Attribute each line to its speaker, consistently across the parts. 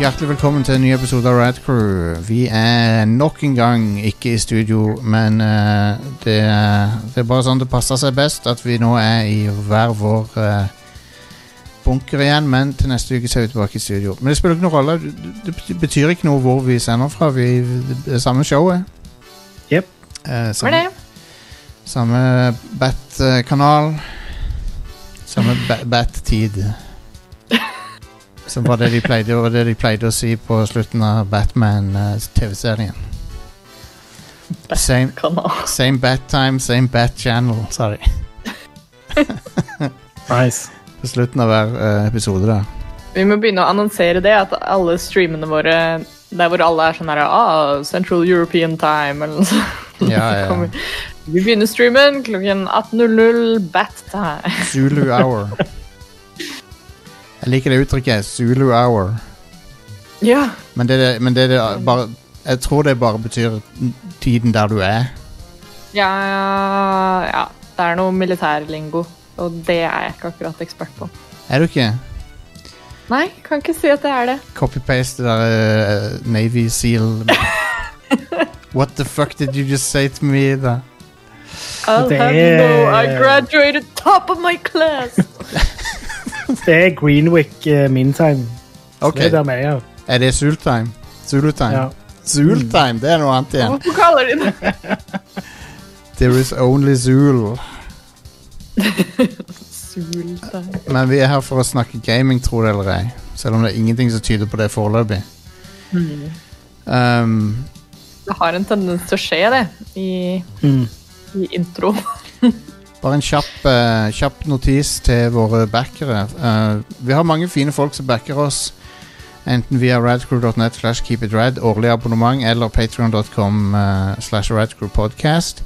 Speaker 1: Hjertelig velkommen til en ny episode av Rad Crew. Vi er nok en gang ikke i studio, men eh, det, er- det er bare sånn det passer seg best at vi nå er i hver vår eh, bunker igjen. Men til neste uke så er vi tilbake i studio. Men det spiller ikke noen rolle. Det, det betyr ikke noe hvor vi sender fra. Vi, det er samme showet.
Speaker 2: Jep.
Speaker 1: Eh,
Speaker 3: Var
Speaker 1: samme
Speaker 3: det?
Speaker 1: samme Bat-kanal. Samme ba- Bat-tid. Som var det de pleide Og det de pleide å si på slutten av Batman-TV-serien. Same,
Speaker 3: Kanal.
Speaker 1: same bat time, same bat channel, sa de
Speaker 2: Nice.
Speaker 1: på slutten av hver eh, episode. der
Speaker 3: Vi må begynne å annonsere det, at alle streamene våre der hvor alle er sånn her ah, Central European Time, eller noe sånt.
Speaker 1: Ja, ja.
Speaker 3: Kommer- Vi begynner streamen klokken 18.00 bat time.
Speaker 1: Zulu hour. Jeg liker det uttrykket. Zulu hour.
Speaker 3: Ja.
Speaker 1: Men det, det, men det, det er bare Jeg tror det bare betyr tiden der du er.
Speaker 3: ja. Ja. Det er noe militærlingo, og det er jeg ikke akkurat ekspert på.
Speaker 1: Er du ikke?
Speaker 3: Nei, kan ikke si at det er det.
Speaker 1: Copy-paste det der eh, Navy Seal What the fuck did you just say to me? Da?
Speaker 3: I'll
Speaker 2: Det
Speaker 3: have
Speaker 2: er-
Speaker 3: no, I graduated top of my class.
Speaker 2: Det er Greenwick uh, min time.
Speaker 1: Ok,
Speaker 2: Det er der vi er.
Speaker 1: er det Zulu-time? Zulu-time?
Speaker 2: Ja.
Speaker 1: Zulu-time, det er noe annet igjen.
Speaker 3: Hvorfor kaller de det
Speaker 1: There is only Zulu.
Speaker 3: Sulta.
Speaker 1: Men vi er her for å snakke gaming, tror det eller ei. Selv om det er ingenting som tyder på det foreløpig. Um,
Speaker 3: Det har en tendens til å skje, det, i,
Speaker 2: Mm.
Speaker 3: i intro.
Speaker 1: Bare en kjapp, eh, kjapp notis til våre backere. Eh, vi har mange fine folk som backer oss. Enten via radcrew.net slash keepitrad, årlig abonnement, eller patreon.com eh, slash radcrewpodcast.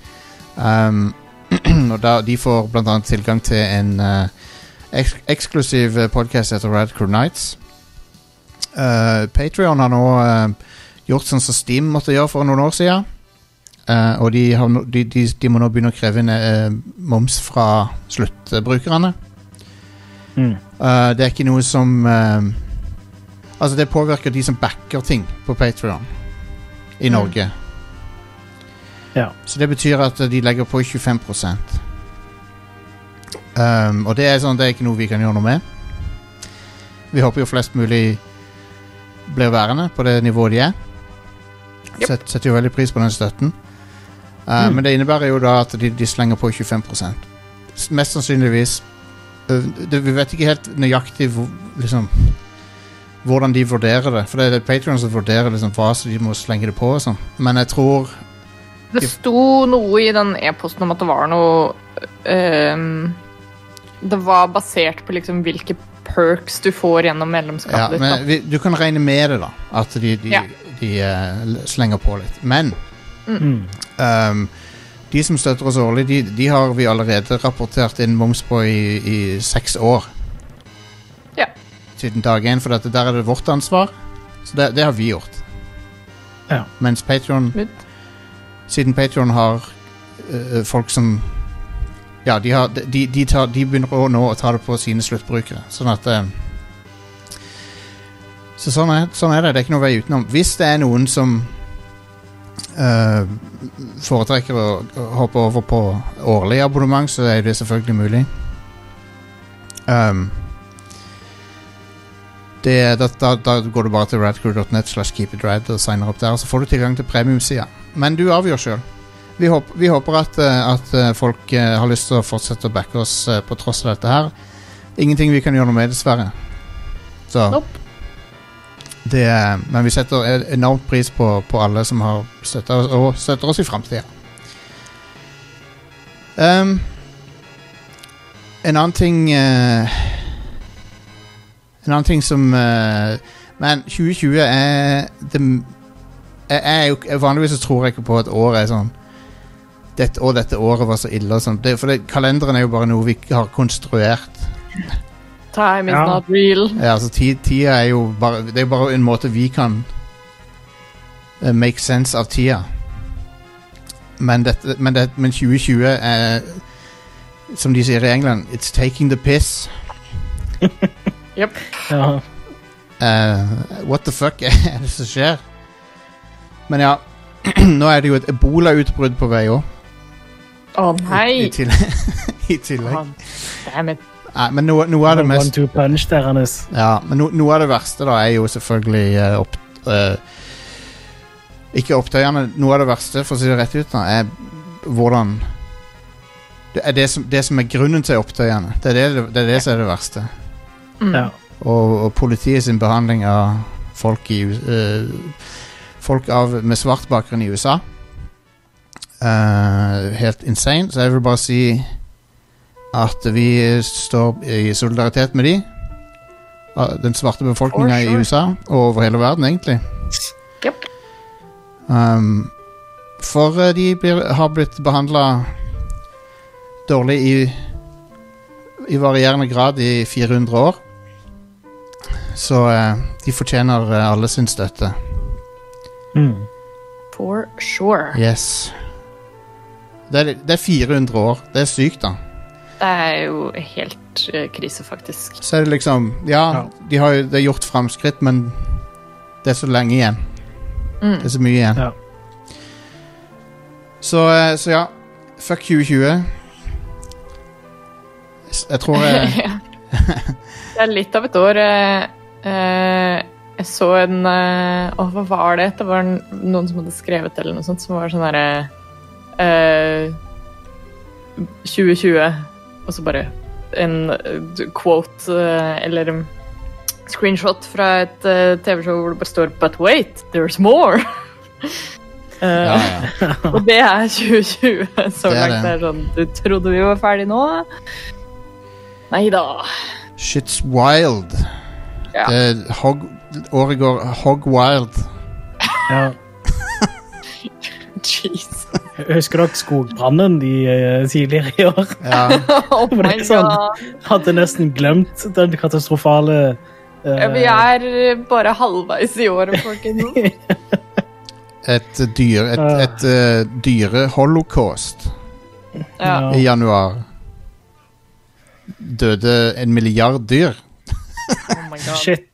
Speaker 1: Um, og da, de får blant annet tilgang til en eh, eks eksklusiv podkast etter Radcrew Nights. Uh, Patrion har nå eh, gjort sånn som Steam måtte gjøre for noen år siden. Eh, og de, har, nå- de, de, de må nå begynne å kreve inn eh, moms fra sluttbrukerne.
Speaker 2: Mm.
Speaker 1: Eh, det er ikke noe som eh, Altså, det påvirker de som backer ting på Patrion i
Speaker 3: Mm.
Speaker 1: Norge.
Speaker 2: Ja.
Speaker 1: Så det betyr at eh, de legger på 25 um, Og det er sånn, det er ikke noe vi kan gjøre noe med. Vi håper jo flest mulig blir værende på det nivået de er.
Speaker 3: Yep.
Speaker 1: Set, setter jo veldig pris på den støtten. Uh,
Speaker 2: Mm.
Speaker 1: Men det innebærer jo da at de, de slenger på 25 S- Mest sannsynligvis ø, Eh, det, Vi vet ikke helt nøyaktig hvor, liksom, hvordan de vurderer det. For det er Patrion som vurderer liksom, hva som de må slenge det på. Og sånn. Men jeg tror
Speaker 3: Det sto noe i den e-posten om at det var noe ehm, Det var basert på liksom hvilke perks du får gjennom
Speaker 1: ja,
Speaker 3: medlemskapet
Speaker 1: men,
Speaker 3: ditt.
Speaker 1: vi, Du kan regne med det, da. At de, de,
Speaker 3: Ja.
Speaker 1: de eh, slenger på litt. Men
Speaker 2: Mm.
Speaker 1: Ehm, de som støtter oss årlig, de, de har vi allerede rapportert inn moms på i, i seks år.
Speaker 3: Ja.
Speaker 1: Siden dag én, for dette, der er det vårt ansvar. Så det, det har vi gjort.
Speaker 2: Ja.
Speaker 1: Mens Patreon
Speaker 3: Mitt.
Speaker 1: Siden Patreon har øh, folk som Ja, de, har, de, de, tar, de begynner å nå å ta det på sine sluttbrukere. Sånn at eh, Så sånn er, sånn er det. Det er ikke noe vei utenom. Hvis det er noen som eh, foretrekker å å hoppe over på årlig abonnement, så er det selvfølgelig mulig. Ehm, det, da, da, da går du bare til radcrew.net slash keepitrad og signer opp der, og så får du tilgang til premiumsida. Men du avgjør sjøl. Vi, håp, vi håper at, eh, at eh, folk eh, har lyst til å fortsette å backe oss eh, på tross av dette her. Ingenting vi kan gjøre noe med, dessverre. Så
Speaker 3: Nope.
Speaker 1: det, er- Men vi setter en- enormt pris på, på alle som har støtta oss, og støtter oss i framtida. Um, en annen ting eh, En annen ting som eh, Men 2020 er det, m- jeg, jeg, er jo ikke- Vanligvis så tror jeg ikke på at året er sånn dette, Og dette året var så ille og sånn. Det, for det, kalenderen er jo bare noe vi har konstruert.
Speaker 3: Time is
Speaker 2: Ja.
Speaker 3: not real.
Speaker 1: Ja, altså ti- Tida er jo bare Det er bare en måte vi kan eh, make sense av tida. Men, dette, men, det, men 2020 er Som de sier i England It's taking the piss.
Speaker 3: Yep.
Speaker 2: Ja.
Speaker 1: Eh, what the fuck er det som skjer? Men ja, nå er det jo et ebolautbrudd på vei òg.
Speaker 3: Å
Speaker 1: I,
Speaker 3: nei!
Speaker 1: tillegg. I tillegg.
Speaker 3: God damn it.
Speaker 1: Nei, men noe, noe av det mest
Speaker 2: One-two punch der, Hannes.
Speaker 1: Ja, men no, noe av det verste da er jo selvfølgelig eh, opp, eh, Ikke opptøyene. Noe av det verste, for å si det rett ut, da, er hvordan Det er det som, det som er grunnen til opptøyene. Det er det, det, er det som er det verste.
Speaker 3: Mm.
Speaker 2: Ja.
Speaker 1: Og, og politiet sin behandling av folk i U- eh, Folk av, med svart bakgrunn i USA. Eh, helt insane. Så jeg vil bare si at vi står i solidaritet med de. Ah, Den svarte befolkninga
Speaker 3: For
Speaker 1: i
Speaker 3: sure.
Speaker 1: USA, og over hele verden, egentlig.
Speaker 3: Yep.
Speaker 1: Um, for eh, de blir, har blitt behandla dårlig i, i varierende grad i 400 år. Så eh, de fortjener eh, alle sin støtte.
Speaker 2: Mm.
Speaker 3: For sure.
Speaker 1: Yes. Det er, det er 400 år. Det er sykt, da.
Speaker 3: Det er jo helt eh, krise, faktisk.
Speaker 1: Så er det liksom Ja,
Speaker 2: Ja.
Speaker 1: de har jo det er gjort framskritt, men det er så lenge igjen.
Speaker 3: Mm.
Speaker 1: Det er så mye igjen.
Speaker 2: Ja.
Speaker 1: Så, eh, så ja. Fuck 2020. S- Jeg tror eh, jeg
Speaker 3: det er litt av et år. eh, eh, Jeg så en eh, Åh, hva var det? Det var en- noen som hadde skrevet eller noe sånt, som var sånn derre 2020, og så bare en eh, quote eh, eller um, screenshot fra et eh, TV-show hvor det bare står 'But wait, there's more'. Eh,
Speaker 1: ja, ja.
Speaker 3: Og det er 2020 så
Speaker 1: Det er det.
Speaker 3: langt. Det er sånn, du trodde vi var ferdig nå? Nei da.
Speaker 1: Shit's wild.
Speaker 3: Ja.
Speaker 1: Det, hog, året går hog wild.
Speaker 2: Ja.
Speaker 3: Jeez.
Speaker 2: Husker dere skogbrannen de eh, tidligere i år?
Speaker 1: Ja.
Speaker 3: Oh
Speaker 2: det
Speaker 3: my
Speaker 2: er sånn.
Speaker 3: god.
Speaker 2: Hadde nesten glemt den katastrofale eh,
Speaker 3: Ja, Vi er eh, bare halvveis i året, folkens.
Speaker 1: Et dyre... Et,
Speaker 2: Ah.
Speaker 1: et, eh, dyre holocaust
Speaker 3: Ja.
Speaker 1: i januar. Døde en milliard dyr.
Speaker 3: Oh my god.
Speaker 2: Shit.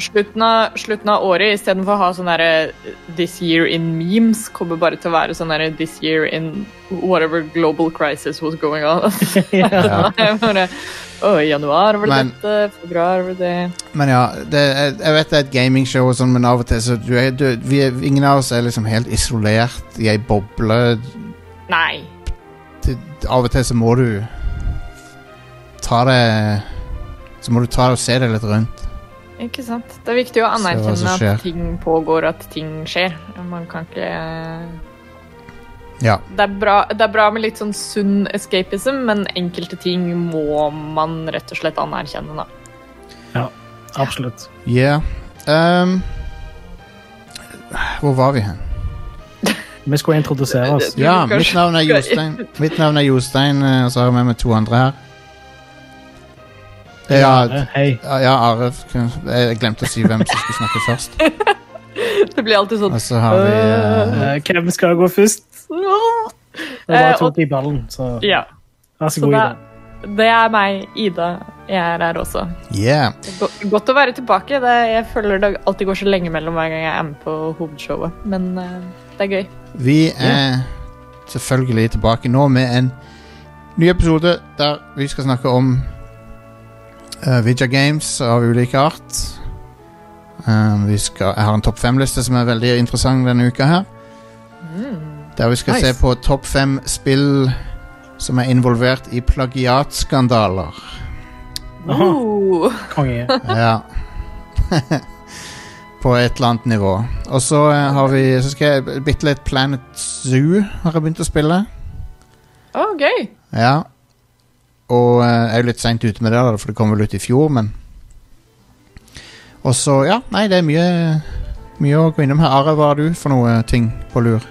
Speaker 3: Slutten av, slutten av året, istedenfor å ha sånn derre This year in memes, kommer bare til å være sånn derre This year in whatever global crisis was going on.
Speaker 2: ja.
Speaker 1: Ja.
Speaker 3: Bare, Å, i januar var det
Speaker 1: Men-
Speaker 3: dette, februar var det det
Speaker 1: Men ja, det, jeg, jeg vet det er et gamingshow og sånn, men av og til så du er, du, vi er, Ingen av oss er liksom helt isolert i ei boble.
Speaker 3: Nei.
Speaker 1: Det, av og til så må du ta det Så må du ta det og se deg litt rundt.
Speaker 3: Ikke sant. Det er viktig å
Speaker 1: Se hva som
Speaker 3: anerkjenne
Speaker 1: skjer.
Speaker 3: at ting pågår, at ting skjer. Man kan ikke
Speaker 1: Ja.
Speaker 3: det er, bra, det er bra med litt sånn sunn escapism, men enkelte ting må man rett og slett anerkjenne, da.
Speaker 2: Absolutt.
Speaker 1: Yeah. Um, hvor var vi hen?
Speaker 2: Vi skulle introdusere oss.
Speaker 3: Du
Speaker 1: Ja,
Speaker 3: kan
Speaker 1: mitt navn er
Speaker 3: sjekke.
Speaker 1: Jostein. Mitt navn er Jostein, eh, og så har jeg med meg to andre her. Ja, eh.
Speaker 2: Hei.
Speaker 1: ja Are. kun- Jeg glemte å si hvem som skulle snakke først.
Speaker 3: Det blir alltid sånn
Speaker 1: Og så har vi eh,
Speaker 2: Eh, hvem skal gå først?
Speaker 1: Altså.
Speaker 3: «Åh!»
Speaker 2: Jeg bare
Speaker 3: Eh, og-
Speaker 2: tok i ballen, så
Speaker 3: Ja.
Speaker 2: vær så
Speaker 3: Så
Speaker 2: god.
Speaker 3: da,
Speaker 2: Ida.
Speaker 3: det er meg, Ida. Jeg er her også.
Speaker 1: Yeah.
Speaker 3: Go- Godt å være tilbake. Det, jeg føler det alltid går så lenge mellom hver gang jeg er med på hovedshowet, men eh, det er gøy.
Speaker 1: Vi er selvfølgelig tilbake nå med en ny episode der vi skal snakke om uh, Vidja Games av ulike art. Eh, vi skal, jeg har en topp fem-liste som er veldig interessant denne uka her. Der vi skal
Speaker 2: Nice.
Speaker 1: se på topp fem spill som er involvert i plagiatskandaler.
Speaker 2: Aha,
Speaker 3: Oh.
Speaker 2: konge.
Speaker 1: Ja. På et eller annet nivå. Og så eh, har vi Så skal jeg bitte litt Planet Zoo har jeg begynt å spille.
Speaker 3: Å, gøy!
Speaker 1: Ja. Og eh, jeg er jo litt seint ute med det, da, for det kom vel ut i fjor, men Og så, ja. Nei, det er mye Mye å gå innom her. Are, hva har du for noe ting på lur?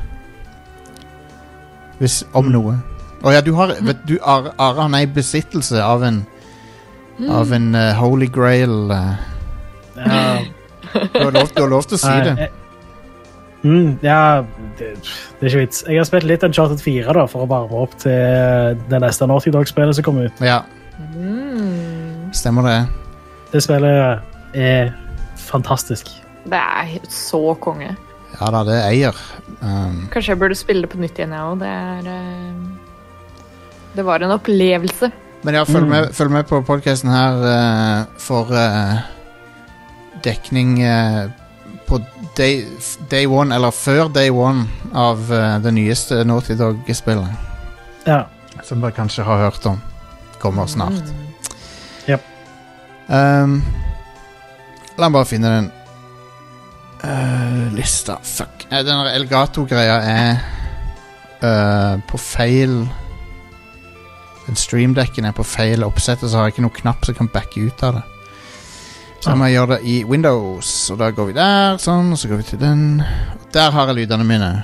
Speaker 1: Hvis Om
Speaker 2: Mm.
Speaker 1: noe. Å ja, du har vet du, Are, Are han er i besittelse av en Av en eh, holy grail eh.
Speaker 2: Ja.
Speaker 1: Du har lov, du har lov til å si det.
Speaker 2: Nei, jeg- Mm, ja, det, det er ikke vits. Jeg har spilt litt Uncharted 4 da, for å varme opp til det neste Naughty Dog-spillet som kommer ut.
Speaker 1: Ja,
Speaker 3: Mm.
Speaker 1: stemmer det.
Speaker 2: Det spillet er fantastisk.
Speaker 3: Det er så konge.
Speaker 1: Ja da, det er eier. Um,
Speaker 3: Kanskje jeg burde spille det på nytt igjen, jeg òg. Det er eh, Det var en opplevelse.
Speaker 1: men ja, følg
Speaker 2: Mm.
Speaker 1: med, følg med på podkasten her eh, for eh, dekning eh, på day, f- day one, eller før day one, av eh, det nyeste Naughty Dog-spillet.
Speaker 2: Ja.
Speaker 1: Som dere kanskje har hørt om. Kommer snart.
Speaker 3: Mm.
Speaker 1: Um, la meg bare finne den Eh, lista. Fuck. Eh, Den der Elgato-greia er eh, på feil Den streamdekken er på feil oppsett, og så har jeg ikke noen knapp som kan backe ut av det. Så
Speaker 2: Ah.
Speaker 1: jeg må gjøre det i Windows, og da går vi der, sånn, og så går vi til den. Der har jeg lydene mine.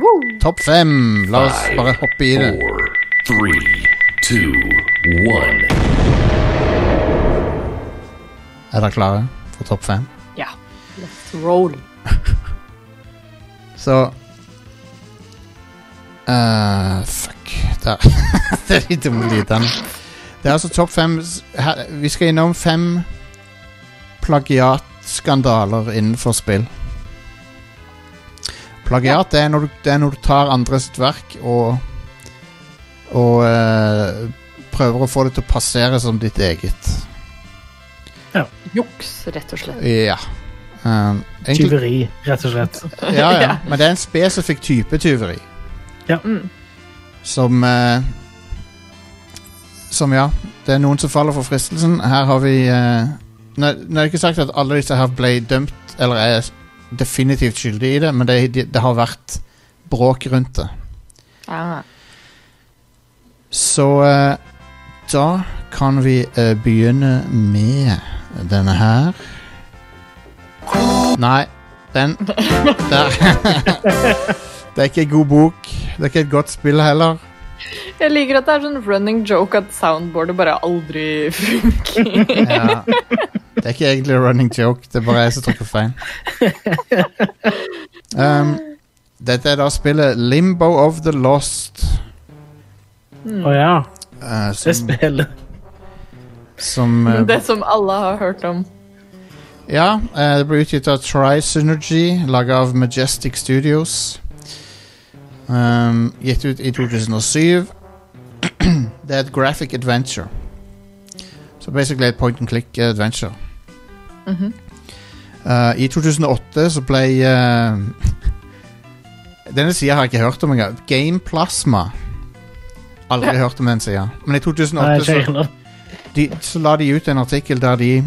Speaker 3: Woo!
Speaker 1: Topp fem! La oss
Speaker 4: Five,
Speaker 1: bare hoppe i det.
Speaker 4: Four, three, two, one.
Speaker 1: Er dere klare for topp fem?
Speaker 3: Ja. Let's roll.
Speaker 1: Så Eh, Fuck. Der. det er de dumme lydene. Det er altså topp fem s- her, Vi skal innom fem plagiatskandaler innenfor spill. Plagiat det er når du, det er når du tar andres verk og Og eh, prøver å få det til å passere som ditt eget.
Speaker 3: Juks, rett og slett.
Speaker 1: Ja. Um, egentlig,
Speaker 2: Tyveri, rett og slett.
Speaker 1: ja, ja. Men det er en spesifikk type tyveri.
Speaker 3: Mm.
Speaker 1: Som eh, Som, ja. Det er noen som faller for fristelsen. Her har vi eh, Nå nå er det ikke sagt at alle disse her ble dømt eller er definitivt skyldige i det, men det, det, det har vært bråk rundt det.
Speaker 3: Ah.
Speaker 1: Så eh, da kan vi eh, begynne med denne her. Nei, den Der. det er ikke en god bok. Det er ikke et godt spill heller.
Speaker 3: Jeg liker at det er sånn running joke at soundboardet bare aldri funker.
Speaker 1: Ja. Det er ikke egentlig en running joke, det er bare jeg som trykker feil. Um, dette er da spillet Limbo of the Lost,
Speaker 2: Å ja,
Speaker 1: eh,
Speaker 2: det
Speaker 1: som,
Speaker 2: spillet.
Speaker 1: som eh,
Speaker 3: det som alle har hørt om.
Speaker 1: Ja, eh, det ble utgitt av Tri-Synergy, laga av Majestic Studios. Um, gitt ut i 2007. det er et graphic adventure. Så basically et point and click adventure.
Speaker 3: Mhm.
Speaker 1: Eh, I 2008 så ble eh, Denne sida har jeg ikke hørt om engang. Game Plasma. Aldri hørt om den sida. Men i
Speaker 2: Nei,
Speaker 1: 2008
Speaker 2: ikke
Speaker 1: så,
Speaker 2: heller.
Speaker 1: de, så la de ut en artikkel der de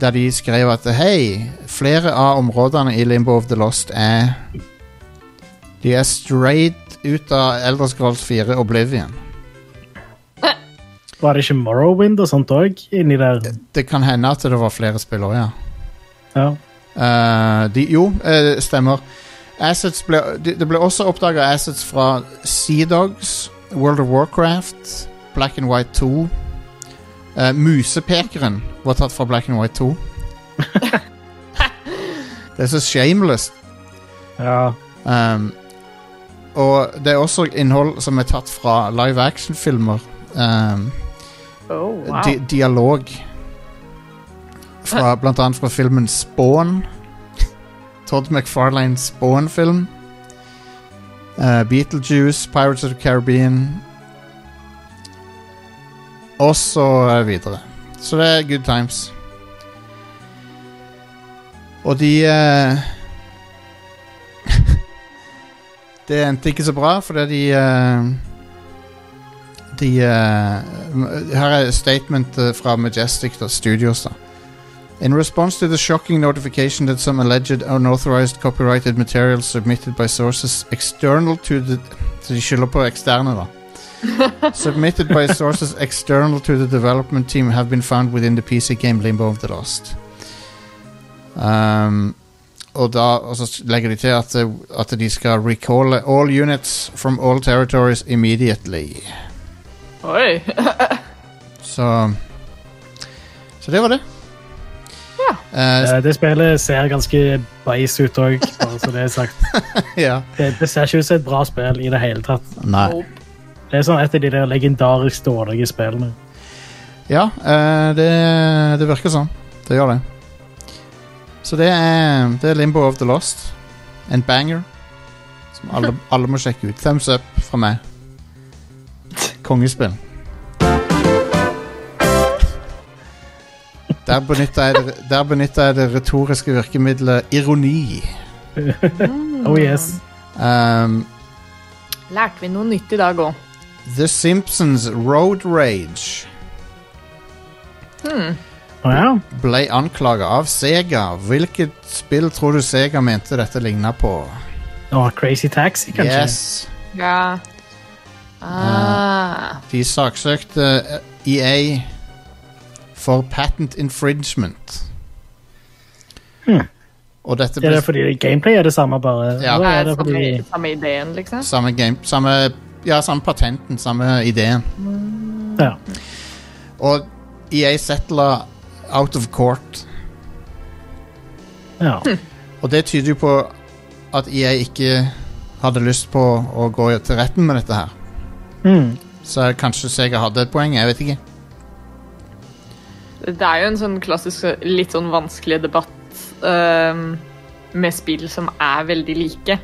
Speaker 1: Der de skrev at hei, flere av områdene i Limbo of the Lost er De er straight ut av Elders Scrolls 4 Oblivion.
Speaker 2: Var det ikke Morrowind og sånt òg inni der?
Speaker 1: Det kan hende at det var flere spill òg, ja.
Speaker 2: Ja.
Speaker 1: Eh, de, jo, eh, stemmer. Assets ble, de, det ble også oppdaga assets fra Sea Dogs, World of Warcraft, Black and White 2. Eh, musepekeren var tatt fra Black and White 2. det er så shameless.
Speaker 2: ja.
Speaker 1: Um, og det er også innhold som er tatt fra live action-filmer. Um,
Speaker 3: Oh, wow.
Speaker 1: di dialog. Fra, blant annet fra filmen Spawn. Todd McFarlane Spawn-film. Eh, Beetlejuice, Pirates of the Caribbean. Og så eh, videre. Så det er good times. Og de eh, Det endte ikke så bra, fordi de eh, de, eh, m- her er statement eh, fra Majestic da, Studios. da. In response to the shocking notification that some alleged unauthorized copyrighted material submitted by sources external to the Så de skylder på eksterne, da. Submitted by sources external to the development team have been found within the PC game Limbo of the Lost. Um, og, da, og så legger de til at, eh, at de skal recalle all units from all territories immediately.
Speaker 3: Oi.
Speaker 1: Så Så det var det.
Speaker 3: Ja.
Speaker 1: Eh,
Speaker 2: Eh, Det spillet ser ganske beis ut òg, bare så det er sagt.
Speaker 1: ja.
Speaker 2: Det, det ser ikke ut som et bra spill i det hele tatt.
Speaker 1: Nei.
Speaker 3: Nope.
Speaker 2: Det er sånn et av de der legendarisk dårlige spillene.
Speaker 1: Ja, eh, det, det virker sånn. Det gjør det. Så det er, det er Limbo of the Lost. En banger. Som alle, alle må sjekke ut. Thumbs up fra meg. Kongespill. Der benytta jeg, det- der benyttet jeg det retoriske virkemidlet ironi.
Speaker 2: Oh yes.
Speaker 1: Um,
Speaker 3: Lærte vi noe nytt i dag òg?
Speaker 1: The Simpsons Road Rage
Speaker 2: Å ja.
Speaker 1: ble anklaga av Sega. Hvilket spill tror du Sega mente dette ligna på?
Speaker 2: Å, crazy taxi, kanskje?
Speaker 1: Yes.
Speaker 3: Ja. Ah.
Speaker 1: De saksøkte eh, EA for patent infringement.
Speaker 2: Hmm.
Speaker 1: Og dette
Speaker 2: Er
Speaker 1: ble
Speaker 2: det fordi det- gameplay er det samme, bare?
Speaker 1: Ja.
Speaker 2: Eller
Speaker 3: Er
Speaker 2: er det
Speaker 3: det samme,
Speaker 2: fordi...
Speaker 3: samme ideen, liksom?
Speaker 1: samme, game, samme, ja, samme patenten, samme ideen.
Speaker 2: Ja.
Speaker 1: Og EA settla out of court.
Speaker 2: ja.
Speaker 1: Og det tyder jo på at EA ikke hadde lyst på å gå til retten med dette her.
Speaker 2: Mm.
Speaker 1: Så kanskje Sega hadde et poeng, jeg vet ikke.
Speaker 3: Det er jo en sånn klassisk, litt sånn vanskelig debatt ehm, med spill som er veldig like.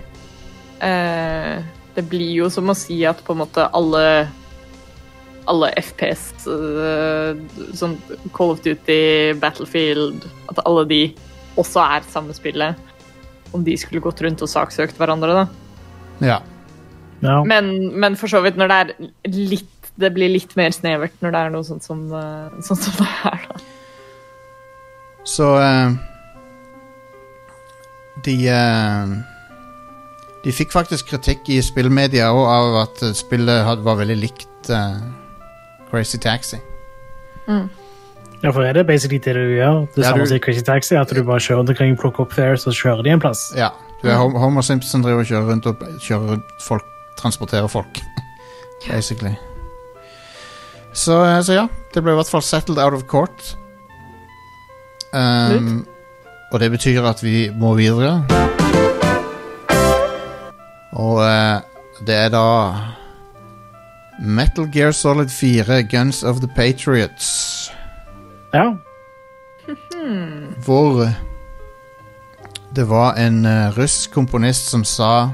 Speaker 3: Eh, det blir jo som å si at på en måte alle alle FPS, eh, sånn Call of Duty, Battlefield, at alle de også er samme spillet. Om de skulle gått rundt og saksøkt hverandre, da.
Speaker 1: Ja.
Speaker 2: ja.
Speaker 3: Men, men for så vidt, når det er litt Det blir litt mer snevert når det er noe sånt som, eh, sånn som det er, da.
Speaker 1: Så eh, De eh, De fikk faktisk kritikk i spillmedia òg av at eh, spillet had, var veldig likt eh, Crazy Taxi.
Speaker 2: ja, for er det basically det du gjør? Det
Speaker 1: Ja,
Speaker 2: samme
Speaker 1: du-
Speaker 2: som i crazy taxi, at du bare kjører rundt omkring, plukker opp fares og kjører de en plass?
Speaker 1: Ja. Du er Hom- Homer Simpson driver og kjører rundt og kjører rundt folk, transporterer folk. Basically. Så, eh, så ja. Det ble i hvert fall settled out of court. Um, og det betyr at vi må videre. Og eh, det er da Metal Gear Solid 4, Guns of the Patriots.
Speaker 2: Ja.
Speaker 1: Hvor eh, det var en eh, russ komponist som sa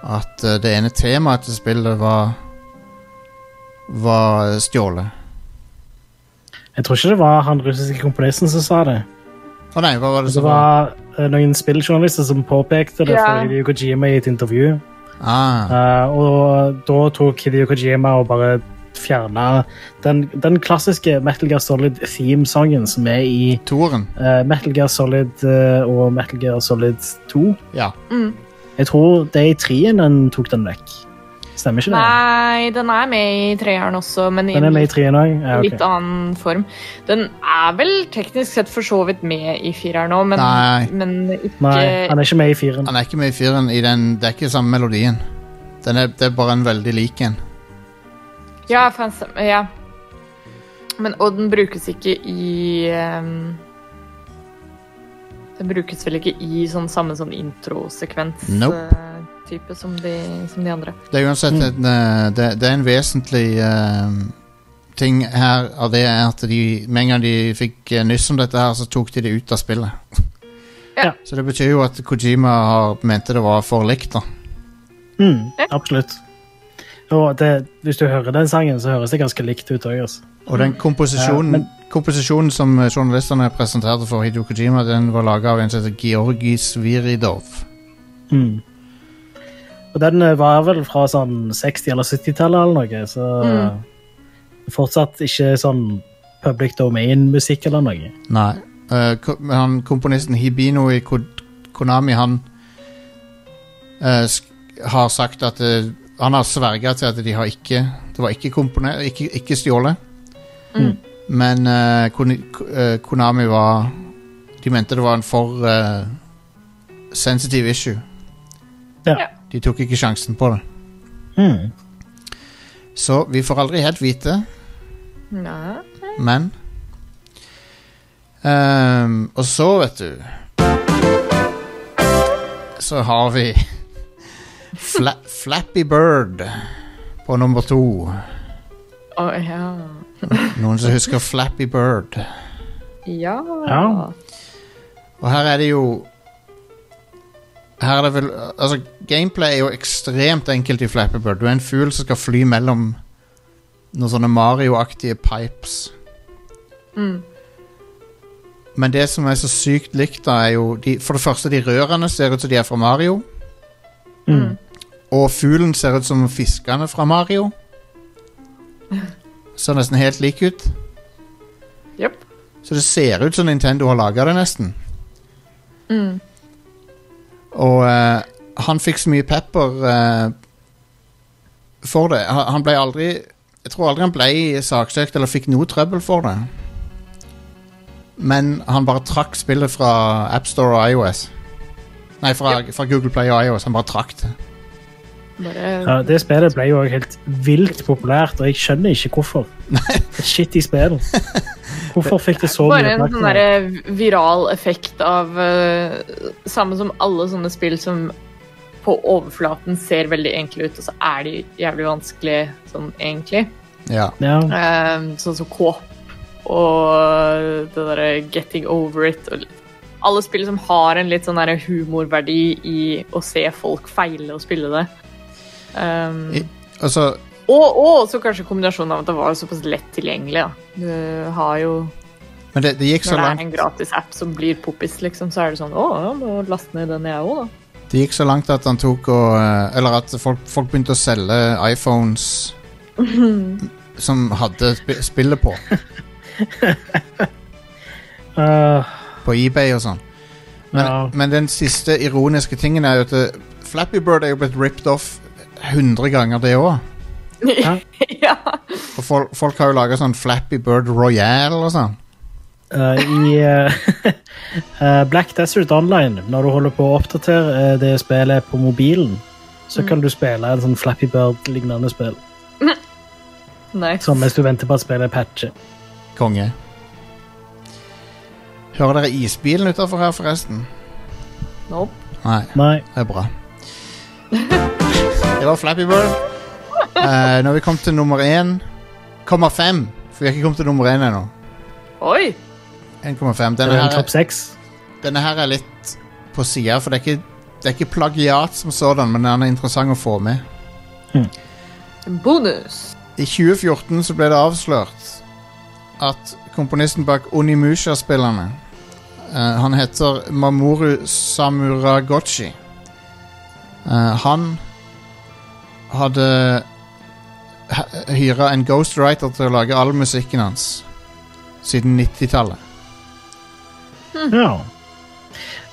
Speaker 1: at eh, det ene temaet til spillet var var stjålet.
Speaker 2: Jeg tror ikke det var han russiske komponisten som sa det.
Speaker 1: Å nei, hva var det
Speaker 2: Det
Speaker 1: som var
Speaker 2: var eh, noen spilljournalister som påpekte det
Speaker 3: Ja.
Speaker 2: for Hideo Kojima i et intervju.
Speaker 1: ah,
Speaker 2: Eh, og da tok Hideo Kojima og bare fjerna den, den klassiske Metal Gear Solid-theme-sangen som er i
Speaker 1: Toren.
Speaker 2: eh, Metal Gear Solid eh, og Metal Gear Solid 2.
Speaker 1: Ja.
Speaker 2: Jeg tror det er i trien den tok den vekk. Stemmer ikke det?
Speaker 3: Nei, den er med i treeren også, men i
Speaker 2: Den er
Speaker 3: en
Speaker 2: med i
Speaker 3: litt,
Speaker 2: trien òg? Ja, ok.
Speaker 3: litt annen form. Den er vel teknisk sett for så vidt med i fireren òg, men,
Speaker 1: Nei.
Speaker 3: men ikke
Speaker 2: Nei, han er ikke med i firen.
Speaker 1: Han er ikke med i fyren i den Det er ikke samme melodien. Den er, det er bare en veldig lik en.
Speaker 3: Ja, fans, ja. Men, og den brukes ikke i ehm, Den brukes vel ikke i sånn samme sånn introsekvens-type
Speaker 1: Nope.
Speaker 3: som, de- som de andre.
Speaker 1: Det er uansett
Speaker 2: Mm.
Speaker 1: en, eh, det, det er en vesentlig eh, ting her av det er at de, med en gang de fikk eh, nyss om dette her, så tok de det ut av spillet.
Speaker 3: Ja.
Speaker 1: Så det betyr jo at Kojima har, mente det var for likt, da.
Speaker 2: Mm, absolutt. Og det, hvis du hører den sangen, så høres det ganske likt ut òg. Altså.
Speaker 1: Og den komposisjonen,
Speaker 2: Ja, men-
Speaker 1: komposisjonen som eh, journalistene presenterte for Hidio Kojima, den var laga av en som heter Georgi Sviridov.
Speaker 2: Mm. Og den eh, var vel fra sånn 60- eller 70-tallet eller noe, så
Speaker 3: Mm.
Speaker 2: eh, fortsatt ikke sånn public domain-musikk eller noe.
Speaker 1: Nei. Eh, ko- men han, komponisten Hibino i Ko Konami, han eh, sk har sagt at eh, Han har sverga til at de har ikke Det var ikke komponert Ikke, ikke stjålet.
Speaker 3: Mm.
Speaker 1: Men eh, Koni- Ko- eh, Konami var De mente det var en for eh, sensitive issue.
Speaker 2: Ja.
Speaker 3: Ja.
Speaker 1: De tok ikke sjansen på det.
Speaker 2: Mm.
Speaker 1: Så vi får aldri helt vite.
Speaker 3: Nei.
Speaker 1: Men Ehm, Og så, vet du Så har vi Fla Flappy Bird på nummer to.
Speaker 3: Å, ja.
Speaker 1: Noen som husker Flappy Bird?
Speaker 3: Ja.
Speaker 2: Ja.
Speaker 1: Og her er det jo Her er det vel Altså, gameplay er jo ekstremt enkelt i Flappy Bird. Du er en fugl som skal fly mellom noen sånne Mario-aktige pipes.
Speaker 3: Mm.
Speaker 1: Men det som er så sykt likt, da, er jo de, For det første, de rørene ser ut som de er fra Mario.
Speaker 2: Mm.
Speaker 1: Og fuglen ser ut som fiskene fra Mario. Ser nesten helt lik ut.
Speaker 3: Jepp.
Speaker 1: Så det ser ut som Nintendo har laga det, nesten.
Speaker 3: Mm.
Speaker 1: Og eh, han fikk så mye pepper eh, for det. Han, han ble aldri Jeg tror aldri han ble saksøkt eller fikk noe trøbbel for det. Men han bare trakk spillet fra AppStore og iOS. Nei, fra, fra Google Play og iOS. Han bare trakk det.
Speaker 3: Bare
Speaker 2: Ja, det spillet ble jo også helt vilt populært, og jeg skjønner ikke hvorfor. Et shitty spill. Hvorfor fikk det så
Speaker 3: Bare
Speaker 2: mye
Speaker 3: en sånn
Speaker 2: oppmerksomhet?
Speaker 3: derre viral effekt av eh, Samme som alle sånne spill som på overflaten ser veldig enkle ut, og så er de jævlig vanskelig sånn egentlig.
Speaker 1: Ja.
Speaker 2: Ja.
Speaker 3: Eh, sånn som Coop og det derre Getting Over It. Og alle spill som har en litt sånn derre humorverdi i å se folk feile og spille det. Um,
Speaker 1: I- Altså,
Speaker 3: og, og også kanskje kombinasjonen av at det var såpass lett tilgjengelig. Da. Du har jo
Speaker 1: men det, det gikk så
Speaker 3: Når det er
Speaker 1: langt
Speaker 3: en gratis app som blir poppis, liksom, så er det sånn Å, jeg må laste ned den jeg òg, da.
Speaker 1: Det gikk så langt at han tok og eh, Eller at folk, folk begynte å selge iPhones som hadde sp spillet på.
Speaker 2: Uh,
Speaker 1: På eBay og sånn. Men,
Speaker 2: Ja.
Speaker 1: men den siste ironiske tingen er jo at eh, Flappy Bird er jo blitt ripped off 100 ganger, det òg.
Speaker 3: ja.
Speaker 1: Og folk, folk har jo laga sånn Flappy Bird Royal og sånn.
Speaker 2: Eh, I eh, eh, Black Desert Online, når du holder på å oppdatere eh, det spillet på mobilen, så
Speaker 3: Mm.
Speaker 2: kan du spille en sånn Flappy Bird-lignende spill.
Speaker 3: Nei.
Speaker 2: Sånn mens du venter på at spillet patcher.
Speaker 1: Konge. Hører dere isbilen utafor her, forresten?
Speaker 3: Nope.
Speaker 1: Nei.
Speaker 2: Nei.
Speaker 1: Det er bra. Det var Flappy Bird. Eh, når vi kom til nummer én 1,5 For vi har ikke kommet til nummer én ennå.
Speaker 3: Oi!
Speaker 1: 1,5.
Speaker 2: Det
Speaker 1: Denne,
Speaker 2: er en
Speaker 1: her-
Speaker 2: eh, topp seks.
Speaker 1: denne her er litt på sida, for det er, ikke, det er ikke plagiat som sådan, men den er interessant å få med.
Speaker 3: Bonus.
Speaker 1: I 2014 så ble det avslørt at komponisten bak Onimusha-spillerne eh, Han heter Mamoru Samuragochi. Eh, han hadde hyra en ghostwriter til å lage all musikken hans siden 90-tallet.
Speaker 3: Mm.
Speaker 2: Ja.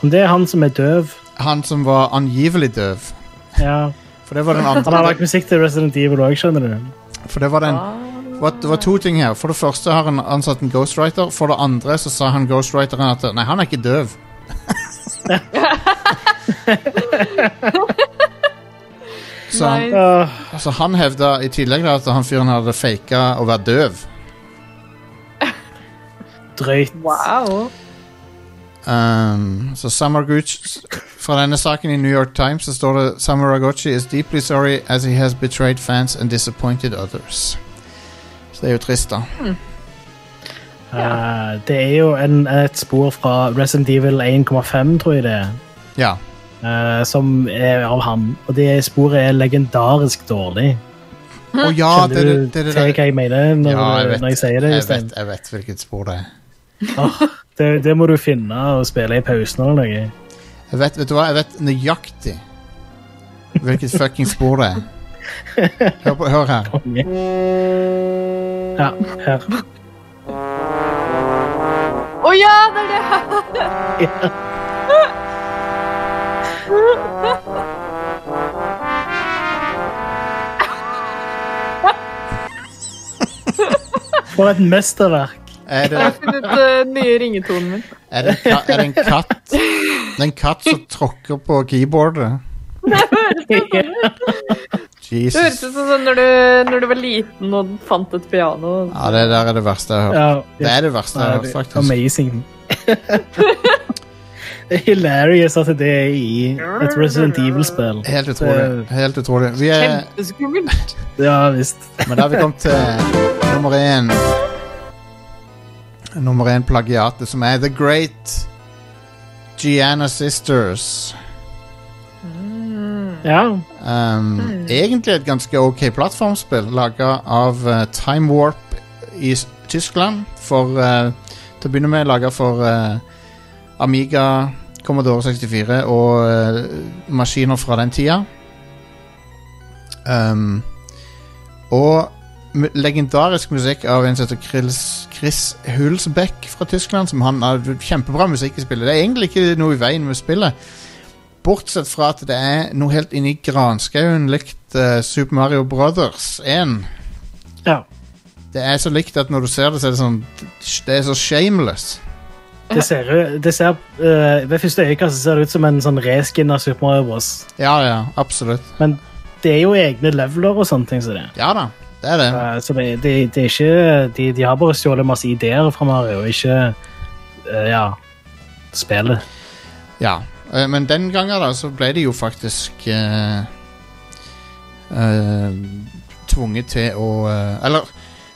Speaker 2: Om det er han som er døv
Speaker 1: Han som var angivelig døv.
Speaker 2: Ja.
Speaker 1: For det var den
Speaker 2: Han har
Speaker 1: andre
Speaker 2: lagt musikk til Resident Evil òg, skjønner du.
Speaker 1: For det var den Det var, det var to ting her. For det første har han ansatt en ghostwriter. For det andre så sa han ghostwriteren at Nei, han er ikke døv. så, han,
Speaker 3: Nei.
Speaker 2: Uh,
Speaker 1: så han hevda i tillegg da, at han fyren hadde faka å være døv.
Speaker 2: drøyt.
Speaker 3: Wow.
Speaker 1: Um, så Samaraguchi Fra denne saken i New York Times så står det Samaraguchi is deeply sorry as he has betrayed fans and disappointed others. Så det er jo trist, da.
Speaker 2: Eh, det er jo en, et spor fra Resident Evil 1,5, tror jeg det er.
Speaker 1: Ja.
Speaker 2: eh, som er av ham. Og det sporet er legendarisk dårlig.
Speaker 1: Å ja,
Speaker 2: Skjønner
Speaker 1: det er det, det, er
Speaker 2: du
Speaker 1: det,
Speaker 2: til hva jeg mener når,
Speaker 1: Ja, jeg
Speaker 2: du-
Speaker 1: vet.
Speaker 2: når jeg sier det?
Speaker 1: jeg,
Speaker 2: Jostein?
Speaker 1: vet, jeg vet hvilket spor det er.
Speaker 2: Det, det må du finne og spille i pausen eller noe.
Speaker 1: Jeg vet, vet du hva? Jeg vet nøyaktig hvilket fucking spor det er. Hør, på, hør her.
Speaker 2: Konge. Ja, her.
Speaker 3: Å ja, det er det her!
Speaker 2: For et mesterverk.
Speaker 1: Er det,
Speaker 3: Jeg har funnet eh, nye ringetonen min.
Speaker 1: er det, en, ka, er det en katt Det er en katt som tråkker på keyboardet?
Speaker 3: Det høres
Speaker 1: Jesus.
Speaker 3: ut som sånn når du, når du var liten og fant et piano.
Speaker 1: Ja, det der er det verste jeg har hørt.
Speaker 2: Ja,
Speaker 1: Det er det verste jeg har hørt, faktisk.
Speaker 2: amazing. det er hilarious at det er i et Resident Evil-spill.
Speaker 1: Helt utrolig. Helt utrolig. Vi er,
Speaker 3: Kjempeskummelt.
Speaker 2: Ja visst.
Speaker 1: men da har vi kommet til nummer én. nummer én plagiatet, som er The Great Gianna Sisters.
Speaker 2: Ja.
Speaker 1: Um, Egentlig et ganske ok plattformspill laga av eh, Time Warp i S- Tyskland. For eh, Til å begynne med laga for eh, Amiga, Commodore 64 og eh, maskiner fra den tida. Um, og mu- legendarisk musikk av en som heter Chris, Chris Hulsbeck fra Tyskland. Som han har kjempebra musikk i spillet. Det er egentlig ikke noe i veien med spillet. Bortsett fra at det er noe helt inni granskauen likt eh, Super Mario Brothers 1.
Speaker 2: ja.
Speaker 1: Det er så likt at når du ser det, så er det sånn Det er så shameless.
Speaker 2: Det ser, jo- det ser eh, Ved første øyekast ser det ut som en sånn reskin av Super Mario Bros.
Speaker 1: Ja, ja, absolutt.
Speaker 2: Men det er jo egne leveler og sånne ting. Så, det.
Speaker 1: Ja da, det er det.
Speaker 2: Eh, så det, det, det er ikke de, de har bare stjålet masse ideer fra Mario, ikke eh, Ja. Spillet.
Speaker 1: Ja. Eh, men den gangen da, så ble de jo faktisk eh, eh, tvunget til å eh, Eller,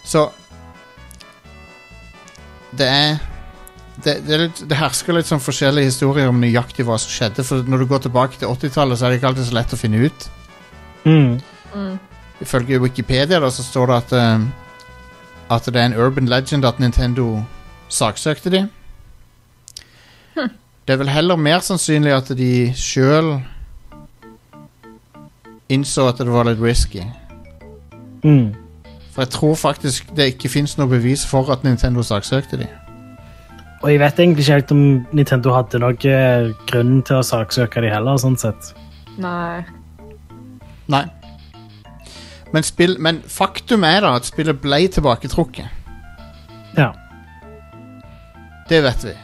Speaker 1: så Det er det, det, er litt, det hersker litt sånn forskjellige historier om nøyaktig hva som skjedde. For når du går tilbake til 80-tallet, så er det ikke alltid så lett å finne ut.
Speaker 2: Mm.
Speaker 3: Mm.
Speaker 1: Ifølge Wikipedia da, så står det at, eh, at det er en urban legend at Nintendo saksøkte de. Det er vel heller mer sannsynlig at de sjøl innså at det var litt risky.
Speaker 2: Mm.
Speaker 1: For jeg tror faktisk det ikke fins noe bevis for at Nintendo saksøkte de.
Speaker 2: Og jeg vet egentlig ikke helt om Nintendo hadde noe eh, grunn til å saksøke de heller, sånn sett.
Speaker 3: Nei.
Speaker 1: Nei. Men, spill, men faktum er da at spillet ble tilbaketrukket.
Speaker 2: Ja.
Speaker 1: Det vet vi.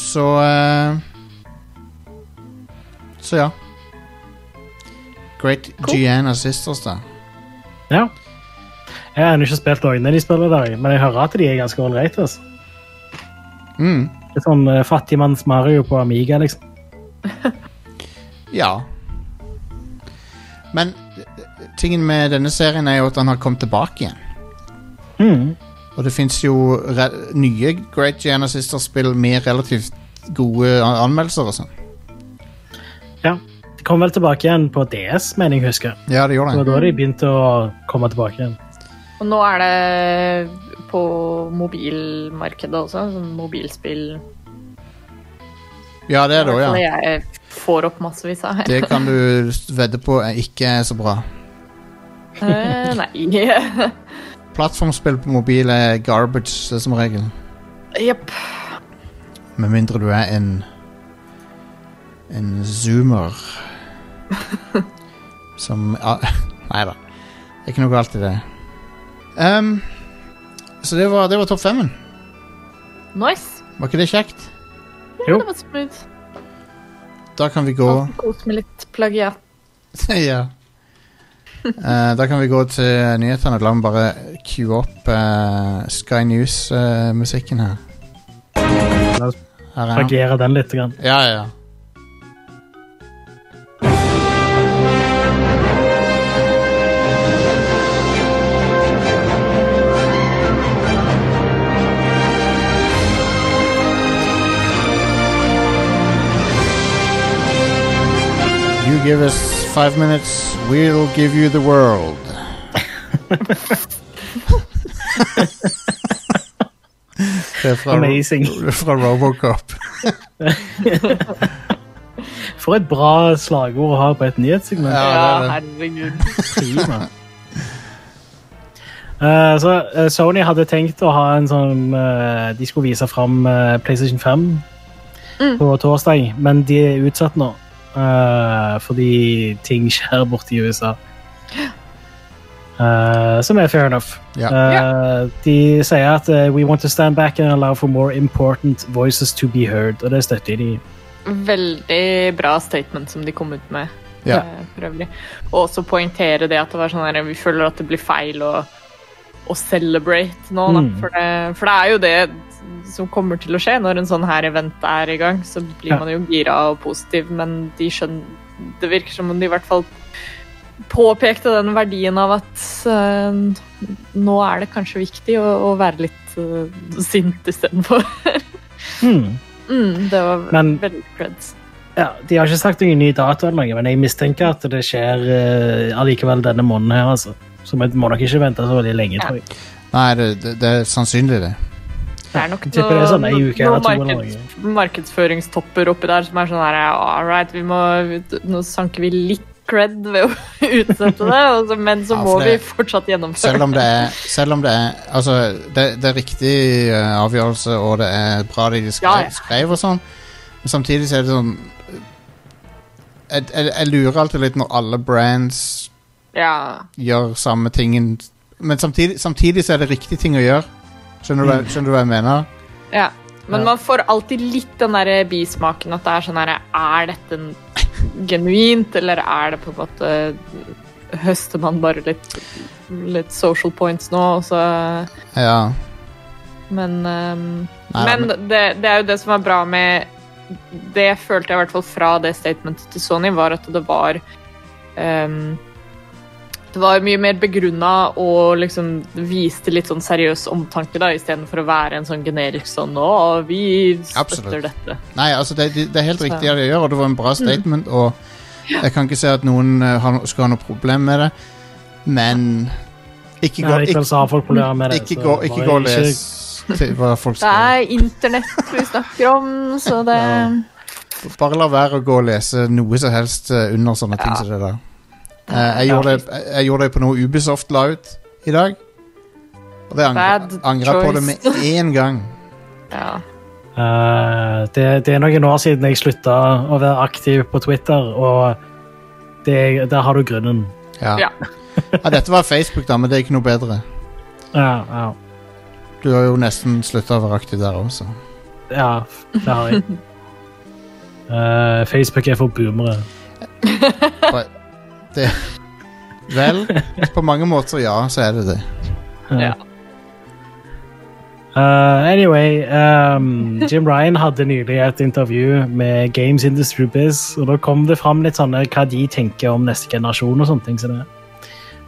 Speaker 1: Så eh, Så ja. Great
Speaker 3: Cool.
Speaker 1: Gianna Sisters, da.
Speaker 2: ja. Jeg har ennå ikke spilt noen av de spillene i dag, men jeg hører at de er ganske ålreite. Altså.
Speaker 1: Mm,
Speaker 2: Det er sånn eh, fattigmanns Mario på Amiga, liksom.
Speaker 1: ja. Men eh, tingen med denne serien er jo at han har kommet tilbake igjen.
Speaker 2: Mm.
Speaker 1: Og det fins jo re nye Great Gianna Sisters-spill med relativt gode an- anmeldelser og sånn.
Speaker 2: Ja. De kom vel tilbake igjen på DS, mener jeg husker.
Speaker 1: Ja, det gjør
Speaker 2: Det var
Speaker 1: det.
Speaker 2: da de begynte å komme tilbake igjen.
Speaker 3: Og nå er det på mobilmarkedet også, sånn mobilspill.
Speaker 1: Ja, det er det òg,
Speaker 3: Som
Speaker 1: ja.
Speaker 3: jeg får opp massevis av.
Speaker 1: Det kan du vedde på er ikke er så bra.
Speaker 3: Eh, nei.
Speaker 1: Plattformspill på mobil er garbage eh, som regel.
Speaker 3: Jepp.
Speaker 1: Med mindre du er en En zoomer. som ah, Nei da. Det er ikke noe galt i det. Ehm, så det var, det var topp femmen.
Speaker 3: Nice.
Speaker 1: Var ikke det kjekt?
Speaker 2: Jo.
Speaker 3: Det var smooth.
Speaker 1: Da kan vi gå
Speaker 3: Kos med litt plagiat.
Speaker 1: ja. Eh, da kan vi gå til nyhetene. La meg bare queue opp eh, Sky News-musikken her.
Speaker 2: La oss
Speaker 1: Her er den.
Speaker 2: plagere den litt. Grann.
Speaker 1: Ja, ja, ja. You give us five minutes, we'll give you the world. Det er fra,
Speaker 2: Amazing.
Speaker 1: fra Robocop.
Speaker 2: For et bra slagord å ha på et nyhetssegment.
Speaker 1: Ja,
Speaker 3: Ja,
Speaker 1: det er
Speaker 3: herregud.
Speaker 2: Prima. Eh, så eh, Sony hadde tenkt å ha en sånn eh, De skulle vise fram eh, PlayStation 5
Speaker 1: Mm.
Speaker 2: på torsdag, men de er utsatt nå. eh, fordi ting skjer borte i USA. Eh, som er fair enough.
Speaker 1: Ja.
Speaker 2: Eh, de sier at eh, we want to stand back and allow for more important voices to be heard, og det støtter de.
Speaker 3: Veldig bra statement som de kom ut med.
Speaker 1: Ja.
Speaker 3: eh, For øvrig. Og også poengtere det at det var sånn her, vi føler at det blir feil å, å celebrate nå. Da.
Speaker 2: Mm.
Speaker 3: For, det, for det er jo det som kommer til å skje når en sånn her event er i gang. Så blir
Speaker 2: Ja.
Speaker 3: man jo gira og positiv, men de skjønner, det virker som om de i hvert fall påpekte den verdien av at eh, nå er det kanskje viktig å, å være litt eh, sint istedenfor.
Speaker 2: Hmm.
Speaker 3: mm, det var
Speaker 2: Men-
Speaker 3: veldig creds.
Speaker 2: Ja, de har ikke sagt noen ny dato, eller noe, men jeg mistenker at det skjer eh, allikevel denne måneden. her, altså. Så vi må nok ikke vente så veldig lenge. tror jeg.
Speaker 1: Nei, det, det, det er sannsynlig, det.
Speaker 3: Det er nok
Speaker 2: Jeg tipper det er sånn en uke eller to eller
Speaker 3: markeds, markedsføringstopper oppi der som er sånn her All right, vi må, nå sanker vi litt cred ved å utsette det, og så- men så
Speaker 1: Ja,
Speaker 3: må
Speaker 1: for det-
Speaker 3: vi fortsatt gjennomføre
Speaker 1: Selv om det er, selv om det er Altså, det, det er riktig eh, avgjørelse, og det er bra det de skrev,
Speaker 3: Ja, ja.
Speaker 1: skrev og sånn, men samtidig så er det sånn jeg, jeg, jeg lurer alltid litt når alle brands
Speaker 3: Ja.
Speaker 1: gjør samme tingen Men samtidig, samtidig så er det riktig ting å gjøre. Skjønner du,
Speaker 3: Mm.
Speaker 1: hva- skjønner du hva jeg mener?
Speaker 3: ja. Men
Speaker 2: Ja.
Speaker 3: man får alltid litt den der bismaken at det er sånn her Er dette en- genuint, eller er det på en måte Høster man bare litt, litt social points nå, og så
Speaker 1: Ja.
Speaker 3: Men ehm,
Speaker 1: Nei,
Speaker 3: men det, det er jo det som er bra med Det følte jeg i hvert fall fra det statementet til Sony, var at det var ehm, Det var mye mer begrunna og liksom viste litt sånn seriøs omtanke, da, istedenfor å være en sånn generisk sånn Å, vi støtter
Speaker 1: Absolutt.
Speaker 3: dette.
Speaker 1: Nei, altså det, det det er helt
Speaker 3: Så- Mm.
Speaker 1: riktig det de gjør, og det var en bra statement, og jeg kan ikke se at noen eh, har, no- skal ha noe problem med det, men ikke
Speaker 2: Ja,
Speaker 1: gå,
Speaker 2: likevel
Speaker 1: ikke,
Speaker 2: så har folk problemer med det.
Speaker 1: ikke
Speaker 2: sånn så
Speaker 1: gå,
Speaker 2: bare
Speaker 1: ikke gå og les til hva folk
Speaker 3: Det
Speaker 1: skriver.
Speaker 3: er internett vi snakker om, så det
Speaker 1: Bare la være å gå og lese noe som helst eh, under sånne ting
Speaker 3: Ja.
Speaker 1: som det der. Eh, Jeg
Speaker 3: Ja.
Speaker 1: gjorde det, jeg- jeg gjorde det på noe Ubisoft la ut i dag, og det
Speaker 3: Bad
Speaker 1: angra på det med en gang.
Speaker 3: Ja.
Speaker 2: Eh, det, det er noen år siden jeg slutta å være aktiv på Twitter, og det, der har du grunnen.
Speaker 1: Ja.
Speaker 3: Ja.
Speaker 1: ja, dette var Facebook, da, men det er ikke noe bedre.
Speaker 2: Ja, ja.
Speaker 1: Du har jo nesten slutta å være aktiv der også.
Speaker 2: ja det har jeg. Eh, Facebook er for boomere.
Speaker 1: Vel, på mange måter ja, så er det det.
Speaker 3: Ja.
Speaker 2: Uh, anyway, um, Jim Ryan hadde nylig et intervju med Games Industry Biz, og da kom det fram litt sånne hva de tenker om neste generasjon og sånne ting. som det.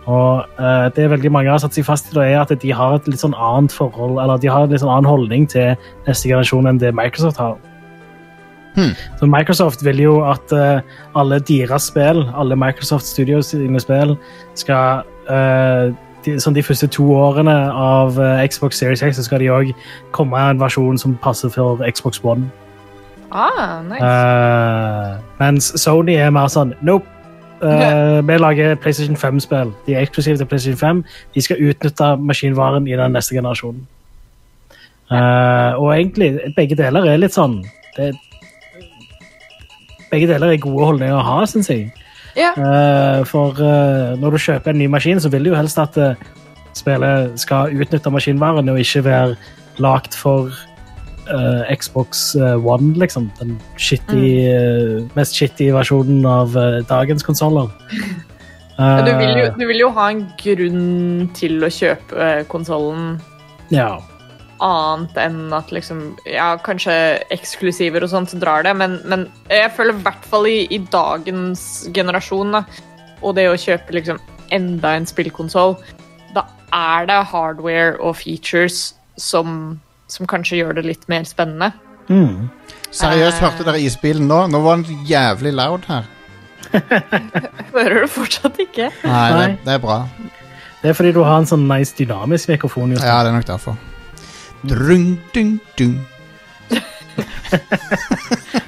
Speaker 2: Og uh, det veldig mange har satt seg fast i, da, er at de har et litt sånn annet forhold, eller de har en litt sånn annen holdning til neste generasjon enn det Microsoft har.
Speaker 1: Hmm.
Speaker 2: Så Microsoft vil jo at uh, alle deres spill, alle Microsoft Studios sine spill, skal eh, de, sånn de første to årene av eh, Xbox Series X, så skal de òg komme en versjon som passer for Xbox One.
Speaker 3: Ah, nice.
Speaker 2: Eh, mens Sony er mer sånn Nope. Eh, vi lager PlayStation 5-spill. De er eksklusive til PlayStation 5. De skal utnytte maskinvaren i den neste generasjonen. Eh, og egentlig, begge deler er litt sånn det, Begge deler er gode holdninger å ha, syns jeg.
Speaker 3: Ja.
Speaker 2: Eh, for eh, når du kjøper en ny maskin, så vil du jo helst at eh, spillet skal utnytte maskinvaren og ikke være lagd for eh, Xbox eh, One, liksom. Den shitty,
Speaker 3: Mm.
Speaker 2: eh, mest shitty versjonen av eh, dagens konsoller. Eh,
Speaker 3: Ja, Du vil, jo, du vil jo ha en grunn til å kjøpe eh, konsollen
Speaker 2: Ja.
Speaker 3: annet enn at liksom Ja, kanskje eksklusiver og sånt drar det, men, men jeg føler i hvert fall i, i dagens generasjon, da, og det å kjøpe liksom enda en spillkonsoll, da er det hardware og features som, som kanskje gjør det litt mer spennende.
Speaker 2: Mm.
Speaker 1: Seriøst,
Speaker 3: Eh.
Speaker 1: hørte dere isbilen nå? Nå var den jævlig loud her.
Speaker 3: Hører du fortsatt ikke?
Speaker 1: Nei, det,
Speaker 2: Nei.
Speaker 1: det er bra.
Speaker 2: Det er fordi du har en sånn nice dynamisk mikrofon. Just.
Speaker 1: Ja, det er nok derfor. Drung, dung, dung.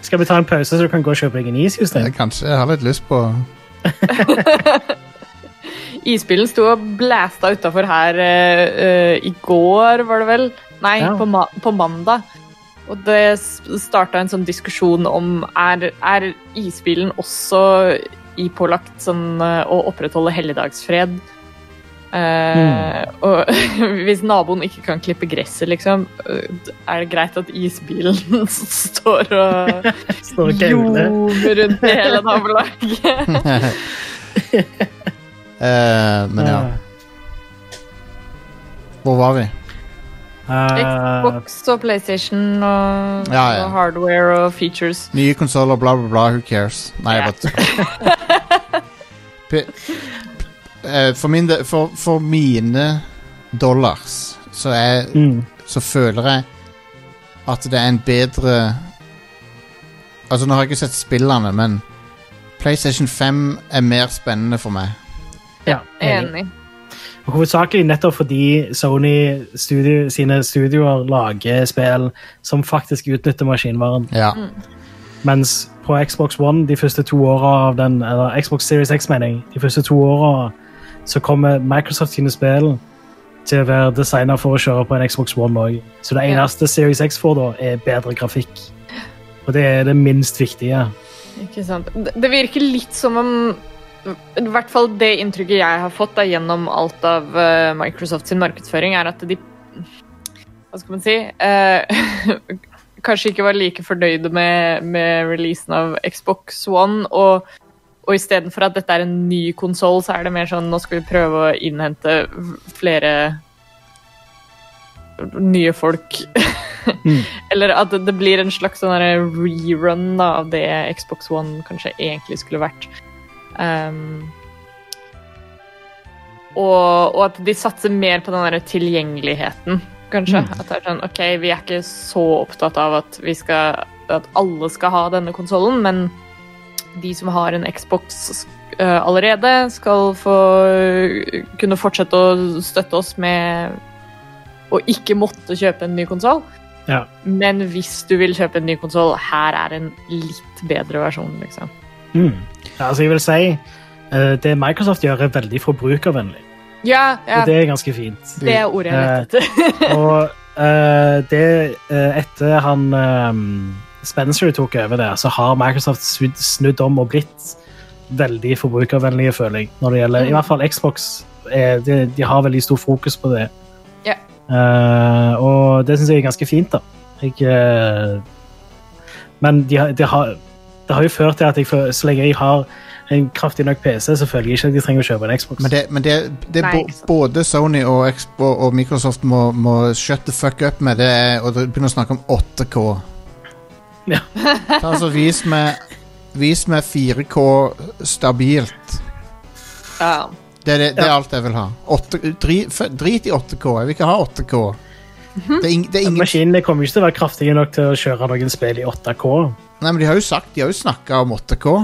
Speaker 2: Skal vi ta en pause, så du kan gå og kjøpe deg en is? Justin?
Speaker 1: Jeg, kanskje jeg har litt lyst på
Speaker 3: Isbilen sto og blæsta utafor her eh, eh, i går, var det vel? Nei,
Speaker 2: Ja.
Speaker 3: på, ma på mandag. Og det starta en sånn diskusjon om er, er isbilen også ipålagt sånn, eh, å opprettholde helligdagsfred? Eh, Og hvis naboen ikke kan klippe gresset, liksom, eh, er det greit at isbilen står og
Speaker 2: Står og gauler.
Speaker 3: ljomer rundt i hele nabolaget?
Speaker 1: Eh, Men ja, hvor var vi?
Speaker 2: Eh,
Speaker 3: Xbox og PlayStation og,
Speaker 1: Ja, ja.
Speaker 3: og hardware og features.
Speaker 1: Nye konsoller, bla, bla, bla. Who cares? Nei, jeg bare tuller. P- eh, for, min, de- for, for mine dollars så, er,
Speaker 2: Mm.
Speaker 1: så føler jeg at det er en bedre Altså, nå har jeg ikke sett spillene, men PlayStation 5 er mer spennende for meg.
Speaker 2: Ja,
Speaker 3: Enig.
Speaker 2: Hovedsakelig nettopp fordi Sony studio, sine studioer lager spill som faktisk utnytter maskinvaren.
Speaker 1: Ja.
Speaker 3: Mm.
Speaker 2: Mens på Xbox One de første to åra av den, eller Xbox Series X, mener jeg, de første to åra så kommer Microsoft sine spill til å være designa for å kjøre på en Xbox One òg. Så det
Speaker 3: Ja.
Speaker 2: eneste Series X får da, er bedre grafikk. Og det er det minst viktige.
Speaker 3: Ikke sant. Det det virker litt som om I hvert fall det inntrykket jeg har fått da, gjennom alt av eh, Microsoft sin markedsføring, er at de Hva skal man si? eh, kanskje ikke var like fornøyde med, med releasen av Xbox One. Og, og istedenfor at dette er en ny konsoll, så er det mer sånn nå skal vi prøve å innhente flere nye folk.
Speaker 2: Mm.
Speaker 3: Eller at det blir en slags sånn her rerun da, av det Xbox One kanskje egentlig skulle vært. Ehm, og, og at de satser mer på den der tilgjengeligheten, kanskje. At det er sånn, ok, vi er ikke så opptatt av at, vi skal, at alle skal ha denne konsollen, men de som har en Xbox eh, allerede, skal få kunne fortsette å støtte oss med å ikke måtte kjøpe en ny konsoll.
Speaker 2: Ja.
Speaker 3: Men hvis du vil kjøpe en ny konsoll, her er en litt bedre versjon, liksom.
Speaker 2: Mm. Ja, altså, jeg vil si eh, det Microsoft gjør, er veldig forbrukervennlig.
Speaker 3: Ja, ja
Speaker 2: Og det er ganske fint.
Speaker 3: det er ordet jeg lette etter.
Speaker 2: Og eh, det eh, Etter han eh, Spencer tok over det, så har Microsoft snudd, snudd om og blitt veldig forbrukervennlige, føler jeg. Når det gjelder, I hvert fall Xbox. Er, de, de har veldig stor fokus på det.
Speaker 3: Ja.
Speaker 2: Eh, og det syns jeg er ganske fint, da. Jeg, eh, men de, har- de har, det har jo ført til at jeg, føler- så lenge jeg har en kraftig nok PC, så føler jeg ikke at jeg trenger å kjøpe en Xbox.
Speaker 1: Men det, men det, det
Speaker 3: Nei,
Speaker 1: bo,
Speaker 3: ikke sant.
Speaker 1: både Sony og, Expo og Microsoft må, må shut the fuck up med det er å begynne å snakke om 8K.
Speaker 2: Ja.
Speaker 1: Ta altså, vis meg Vis meg 4K stabilt.
Speaker 3: Ja.
Speaker 1: Det er, det, det er alt jeg vil ha. Åtte- dri, f- drit i 8K. Jeg vil ikke ha 8K.
Speaker 3: Mhm.
Speaker 1: Det er, ing, det er ingen
Speaker 2: Maskinene kommer ikke til å være kraftige nok til å kjøre noen spill i 8K.
Speaker 1: Nei, men De har jo sagt De har jo snakka om 8K.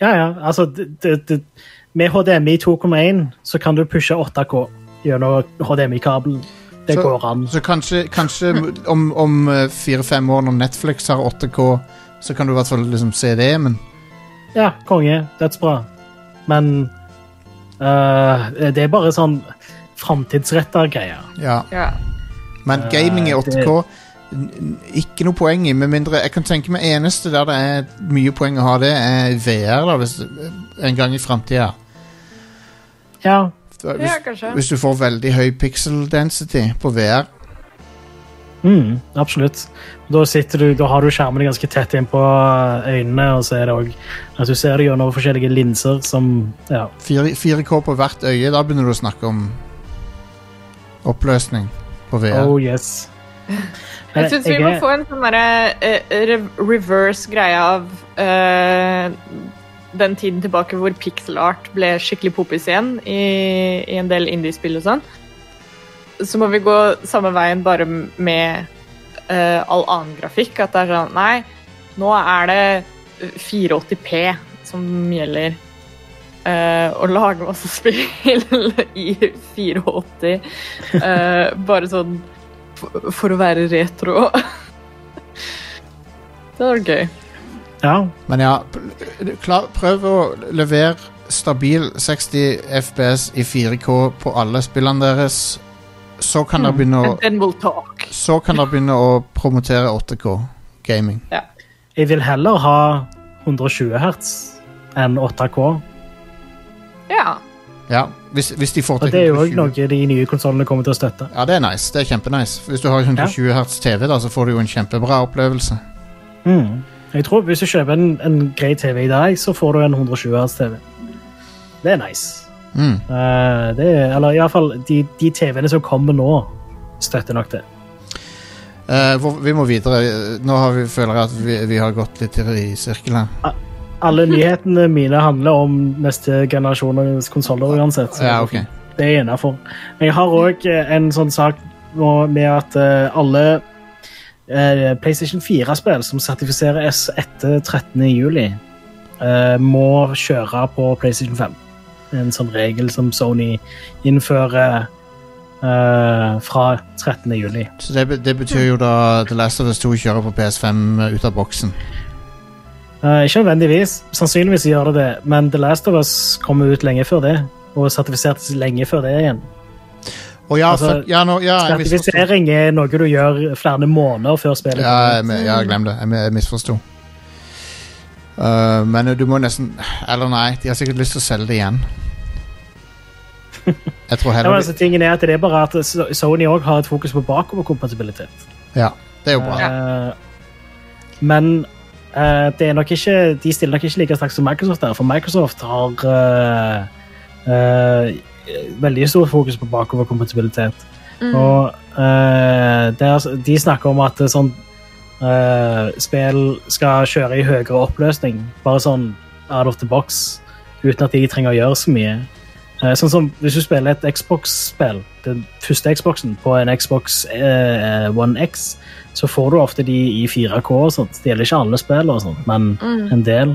Speaker 2: Ja, ja, altså det, det, det, Med HDMI 2,1 så kan du pushe 8K gjennom HDMI-kabelen. Det
Speaker 1: Så-
Speaker 2: går an.
Speaker 1: Så kanskje, kanskje om, om eh, fire-fem år, når Netflix har 8K, så kan du i hvert fall liksom se det, men
Speaker 2: Ja, konge. Dødsbra. Men øh, det er bare sånn framtidsretta greier.
Speaker 1: ja.
Speaker 3: ja.
Speaker 1: Men gaming i
Speaker 2: Eh,
Speaker 1: 8K n- n- Ikke noe poeng i, med mindre Jeg kan tenke meg eneste der det er mye poeng å ha det, er VR, da, hvis, eh, en gang i framtida.
Speaker 2: Ja,
Speaker 3: ja,
Speaker 1: Hvis,
Speaker 3: kanskje.
Speaker 1: hvis du får veldig høy pixel density på VR.
Speaker 2: mm, absolutt. Da, sitter du, da har du skjermene ganske tett innpå øynene, og så er det òg at du ser det gjennom forskjellige linser som Ja.
Speaker 1: 4, 4K på hvert øye, da begynner du å snakke om oppløsning på VR.
Speaker 2: Oh yes. Men
Speaker 3: Jeg syns vi må
Speaker 2: er-
Speaker 3: få en sånn derre eh, re- reverse greie av eh, den tiden tilbake hvor pixel art ble skikkelig popis igjen i, i en del indiespill og sånn. Så må vi gå samme veien bare med eh, all annen grafikk. At det er sånn Nei, nå er det 480P som gjelder. eh, å lage masse spill i 480. eh, bare sånn for, for å være retro. det var gøy.
Speaker 2: ja.
Speaker 1: Men ja, pl- klar, prøv å levere stabil 60 FPS i 4K på alle spillene deres. Så kan dere begynne å
Speaker 3: And then we'll talk.
Speaker 1: Så kan dere begynne å promotere 8K gaming.
Speaker 2: Jeg vil heller ha 120 hertz enn 8K.
Speaker 3: Ja.
Speaker 1: Ja, hvis, hvis de får
Speaker 2: Og
Speaker 1: til
Speaker 2: det er jo òg
Speaker 1: 120.
Speaker 2: noe de nye konsollene kommer til å støtte.
Speaker 1: Ja, det er nice. Det er kjempenice. Hvis du har 120 hertz TV, da, så får du jo en kjempebra opplevelse.
Speaker 2: Mm. Jeg tror Hvis du kjøper en, en grei TV i dag, så får du en 120 hertz TV. Det er nice.
Speaker 1: Mm.
Speaker 2: Eh, det er, eller iallfall de, de TV-ene som kommer nå, støtter nok det.
Speaker 1: Eh, hvor, vi må videre. Nå har vi, føler jeg at vi, vi har gått litt i sirkel her.
Speaker 2: Alle nyhetene mine handler om neste generasjoners konsoller uansett. så
Speaker 1: Ja, ok.
Speaker 2: Det er innafor. Jeg har òg en sånn sak nå med at eh, alle eh, PlayStation 4-spill som sertifiseres etter 13. juli, eh, må kjøre på PlayStation 5. En sånn regel som Sony innfører eh, fra 13. juli.
Speaker 1: Så det, be- det betyr jo da The Last of Us 2 kjører på PS5 ut av boksen.
Speaker 2: Eh, ikke nødvendigvis. Sannsynligvis gjør det det, men The Last of Us kommer ut lenge før det. Og sertifisertes lenge før det igjen.
Speaker 1: Å ja,
Speaker 2: Altså,
Speaker 1: fuck, ja, nå, ja, jeg misforsto.
Speaker 2: Sertifisering er noe du gjør flere måneder før spillet.
Speaker 1: Ja, jeg, me- ja, glem det. Jeg, me- jeg misforsto. Uh, men du må nesten Eller nei, de har sikkert lyst til å selge det igjen. Jeg tror
Speaker 2: Ja, men
Speaker 1: heller
Speaker 2: altså, tingen er at det er bare at So- Sony òg har et fokus på bakoverkompatibilitet.
Speaker 1: Ja, det er jo bra.
Speaker 2: Eh, men eh, det er nok ikke, de stiller nok ikke like sterkt som Microsoft der, for Microsoft har eh, eh, veldig stor fokus på bakoverkompatibilitet. Og eh, det er, de snakker om at eh, sånn eh, spill skal kjøre i høyere oppløsning, bare sånn out of the box, uten at de trenger å gjøre så mye. Eh, Sånn som Hvis du spiller et Xbox-spill, den første Xboxen, på en Xbox eh, One X, så får du ofte de i 4K. og sånt. Det gjelder ikke alle spill, og sånt, men
Speaker 3: Mm.
Speaker 2: en del.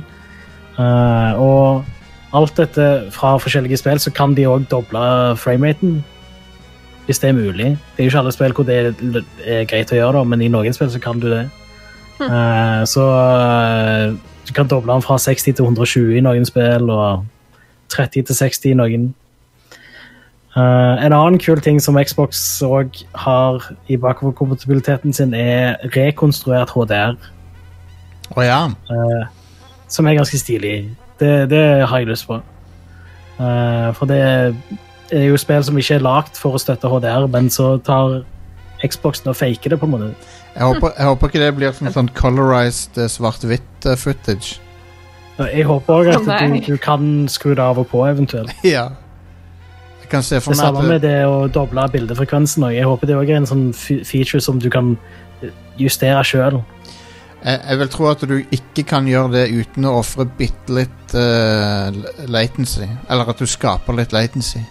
Speaker 2: Eh, og alt dette fra forskjellige spill, så kan de òg doble frameraten. Hvis det er mulig. Det er jo ikke alle spill hvor det er l- er greit å gjøre, det, men i noen spill så kan du det. Eh, så eh, du kan doble den fra 60 til 120 i noen spill, og 30 til 60 i noen. Eh, en annen kul ting som Xbox òg har i bakoverkompatibiliteten sin, er rekonstruert HDR,
Speaker 1: Å ja.
Speaker 2: som er ganske stilig. Det, det har jeg lyst på. Eh, for det er jo spill som ikke er lagd for å støtte HDR, men så tar Xboxen og faker det, på en måte.
Speaker 1: Jeg håper, jeg håper ikke det blir sånn, sånn colorized eh, svart-hvitt eh, footage.
Speaker 2: Og Jeg håper òg at
Speaker 3: Å, nei.
Speaker 2: du, du kan skru det av og på, eventuelt.
Speaker 1: Ja. Jeg kan se for
Speaker 2: Det samme
Speaker 1: meg
Speaker 2: med
Speaker 1: at eh, det,
Speaker 2: det å doble bildefrekvensen. Og jeg håper det også er en sånn fe- feature som du kan justere sjøl.
Speaker 1: jeg, jeg vil tro at du ikke kan gjøre det uten å ofre bitte litt eh, l- latency. Eller at du skaper litt latency.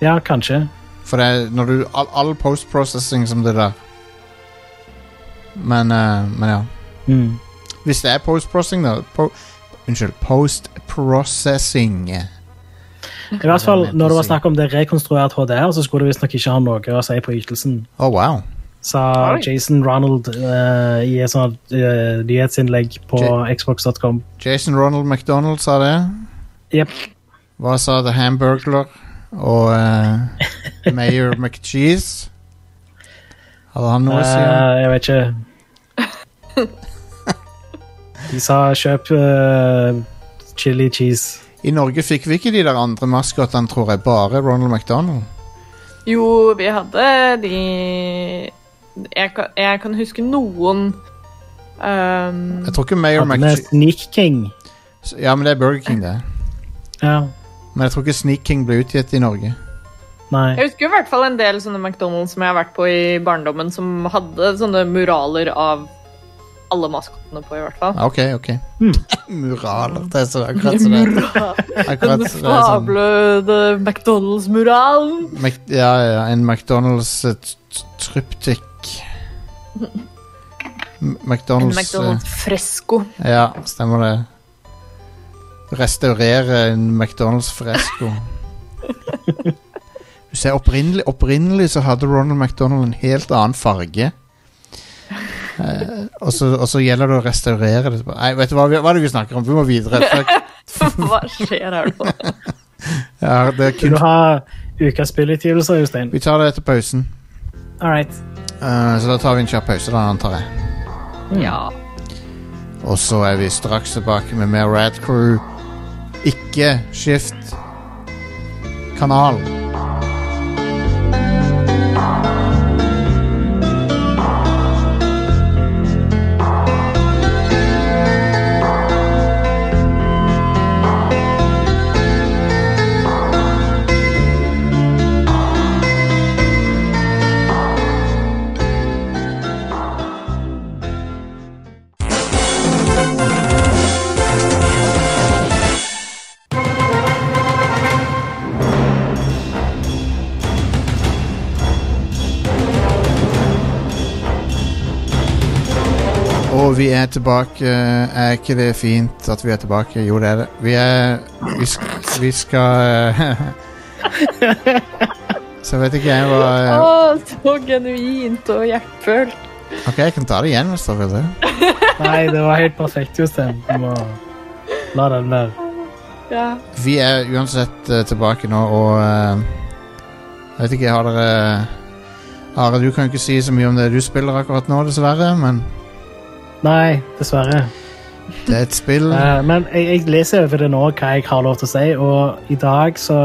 Speaker 2: Ja, kanskje.
Speaker 1: For det er når du All, all post-processing som det der. Men, eh, men ja.
Speaker 2: Mm.
Speaker 1: Hvis det er post-processing, da po Unnskyld. Post-processing.
Speaker 2: I hvert fall,
Speaker 1: Det er
Speaker 2: Når det var
Speaker 1: interessant.
Speaker 2: snakk om det rekonstruert HDR, så skulle det visstnok ikke ha noe å si på ytelsen,
Speaker 1: Å, Oh, wow.
Speaker 2: sa
Speaker 3: Oi.
Speaker 2: Jason Ronald eh, i et sånt eh, nyhetsinnlegg på
Speaker 1: Ja.
Speaker 2: xbox.com.
Speaker 1: Jason Ronald McDonald sa det.
Speaker 2: Jep.
Speaker 1: Hva sa The Hamburglar og eh, Mayor McCheese? Hadde han noe å si? om?
Speaker 2: Eh, jeg vet ikke. De sa kjøp eh, chili cheese.
Speaker 1: I Norge fikk vi ikke de der andre maskotene, tror jeg. Bare Ronald McDonald.
Speaker 3: Jo, vi hadde de Jeg kan, jeg kan huske noen ehm,
Speaker 1: Jeg tror ikke Mayor
Speaker 2: Hadde med
Speaker 1: McCheese
Speaker 2: Sneak King.
Speaker 1: Ja, men det er Burger King, det.
Speaker 2: Ja,
Speaker 1: Men jeg tror ikke Sneak King ble utgitt i Norge.
Speaker 2: nei.
Speaker 3: Jeg husker i hvert fall en del sånne McDonald's som jeg har vært på i barndommen, som hadde sånne muraler av alle maskottene på, i hvert fall.
Speaker 1: Ah, Ok, ok.
Speaker 2: Mm.
Speaker 1: Muraler. Det er så akkurat som det akkurat så
Speaker 3: Den
Speaker 1: det er sånn
Speaker 3: fablede McDonald's-muralen.
Speaker 1: Mc, Ja, ja. En McDonald's eh, t- t- tryptikk. M-
Speaker 3: En
Speaker 1: McDonald's, eh,
Speaker 3: McDonald's-fresko.
Speaker 1: Ja, stemmer det. Restaurere en McDonald's-fresko. Du ser, opprinnelig, opprinnelig så hadde Ronald McDonald en helt annen farge. Eh, og, så, og så gjelder det å restaurere det. Nei, vet du hva, vi- hva er det vi snakker om? Vi må videre. Fuck.
Speaker 3: Hva skjer her nå?
Speaker 1: Ja, det er
Speaker 2: Vil
Speaker 1: kun...
Speaker 2: du ha ukas spillutgivelser, Jostein?
Speaker 1: Vi tar det etter pausen.
Speaker 2: All right.
Speaker 1: Eh, så da tar vi en kjapp pause, da, antar jeg.
Speaker 3: Ja.
Speaker 1: Og så er vi straks tilbake med mer Rad Crew. Ikke skift kanal. Og vi er tilbake. Er ikke det fint at vi er tilbake? Jo, det er det. Vi er Vi, sk vi skal eh, Så vet ikke jeg
Speaker 3: Å,
Speaker 1: hva eh,
Speaker 3: så genuint og hjertefølt.
Speaker 1: Ok, jeg kan ta det igjen hvis dere vil det.
Speaker 2: Nei, det var helt perfekt, Jostein. Du må la den være.
Speaker 3: Ja.
Speaker 1: Vi er uansett eh, tilbake nå, og eh, Jeg vet ikke, har dere Are, du kan ikke si så mye om det du spiller akkurat nå, dessverre, men
Speaker 2: Nei, dessverre.
Speaker 1: det er et spill.
Speaker 2: Eh, men jeg, jeg leser over det nå hva jeg har lov til å si, og i dag så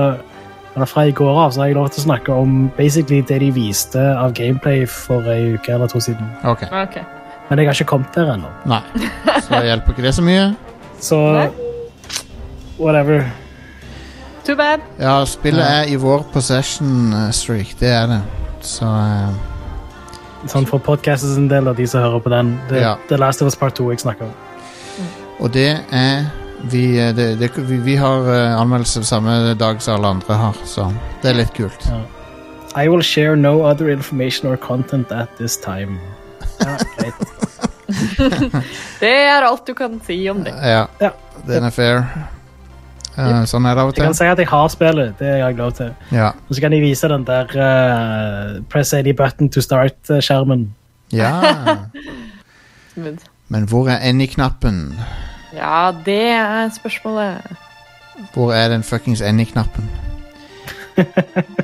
Speaker 2: eller Fra i går av så har jeg lov til å snakke om basically det de viste av gameplay for ei uke eller to siden.
Speaker 1: Ok.
Speaker 3: Ok.
Speaker 2: Men jeg har ikke kommet der ennå.
Speaker 1: Nei. Så hjelper ikke det så mye.
Speaker 2: Så
Speaker 3: Nei.
Speaker 2: whatever.
Speaker 3: Too bad.
Speaker 1: Ja, spillet er i vår possession eh, streak, det er det. Så eh,
Speaker 2: Sånn For podcasten sin del og de som hører på den. Det,
Speaker 1: Ja.
Speaker 2: The Last of Us Part 2 jeg snakker om.
Speaker 1: Og det er vi, eh, det, det, vi, vi har eh, anmeldelse samme dag som alle andre har, så det er litt kult.
Speaker 2: I will share no other information or content at this time. Ja, greit.
Speaker 3: Det er alt du kan si om det.
Speaker 1: Ja,
Speaker 2: Ja.
Speaker 1: den er fair. Eh, sånn er det av og
Speaker 2: Jeg
Speaker 1: til.
Speaker 2: kan si at jeg har spillet. Det har jeg lov til.
Speaker 1: Ja.
Speaker 2: Og så kan jeg vise den der eh, press any button to eh, start-skjermen.
Speaker 1: ja.
Speaker 3: Men-
Speaker 1: Men hvor er any-knappen?
Speaker 3: Ja, det er spørsmålet.
Speaker 1: Hvor er den fuckings any-knappen?
Speaker 3: Jeg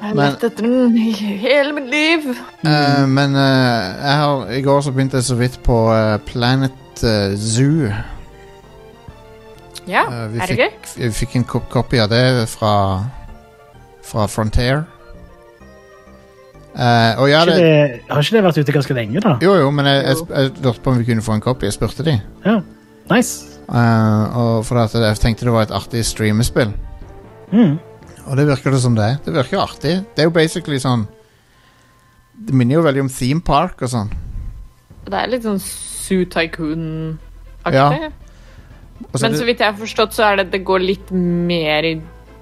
Speaker 3: har
Speaker 1: Men-
Speaker 3: lett etter den i hele mitt liv.
Speaker 1: Eh, men eh, jeg har, i går så begynte jeg så vidt på eh, Planet eh, Zoo.
Speaker 3: Ja,
Speaker 1: Eh, vi
Speaker 3: er det
Speaker 1: fikk-
Speaker 3: gøy?
Speaker 1: Vi fikk en kop- copy av det fra, fra Frontier. Eh, og ja,
Speaker 2: Har
Speaker 1: det,
Speaker 2: ikke det, har ikke det vært ute ganske lenge, da?
Speaker 1: Jo, jo, men jeg, jeg,
Speaker 3: Jo.
Speaker 1: sp- jeg lurte på om vi kunne få en copy. Jeg spurte de.
Speaker 2: Ja. Nice.
Speaker 1: Eh, og for at jeg tenkte det var et artig streamespill.
Speaker 2: Mm.
Speaker 1: Og det virker det som det er. Det virker artig. Det er jo basically sånn Det minner jo veldig om Theme Park og sånn.
Speaker 3: Det er litt sånn Zoo Tycoon-aktig.
Speaker 1: Ja, Og så er
Speaker 3: Men så
Speaker 1: det,
Speaker 3: vidt jeg har forstått, så er det det går litt mer i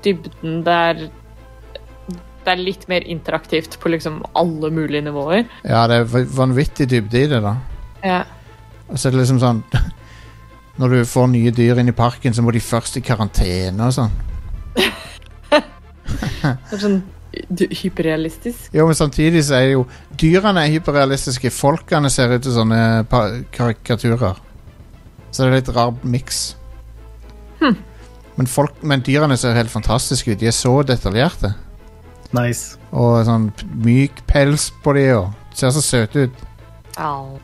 Speaker 3: dybden. Det er, det er litt mer interaktivt på liksom alle mulige nivåer.
Speaker 1: ja, det er v- vanvittig dybde i det, da.
Speaker 3: Ja.
Speaker 1: Og så er det liksom sånn Når du får nye dyr inn i parken, så må de først i karantene og sånn.
Speaker 3: Det er sånn hy- hyperrealistisk.
Speaker 1: Jo, men samtidig så er det jo Dyrene er hyperrealistiske. Folkene ser ut som sånne pa- karikaturer. Så det er litt rar miks. Men, folk- men dyrene ser helt fantastiske ut. De er så detaljerte.
Speaker 2: Nice.
Speaker 1: Og sånn p- myk pels på de og Ser så søte ut.
Speaker 3: Au.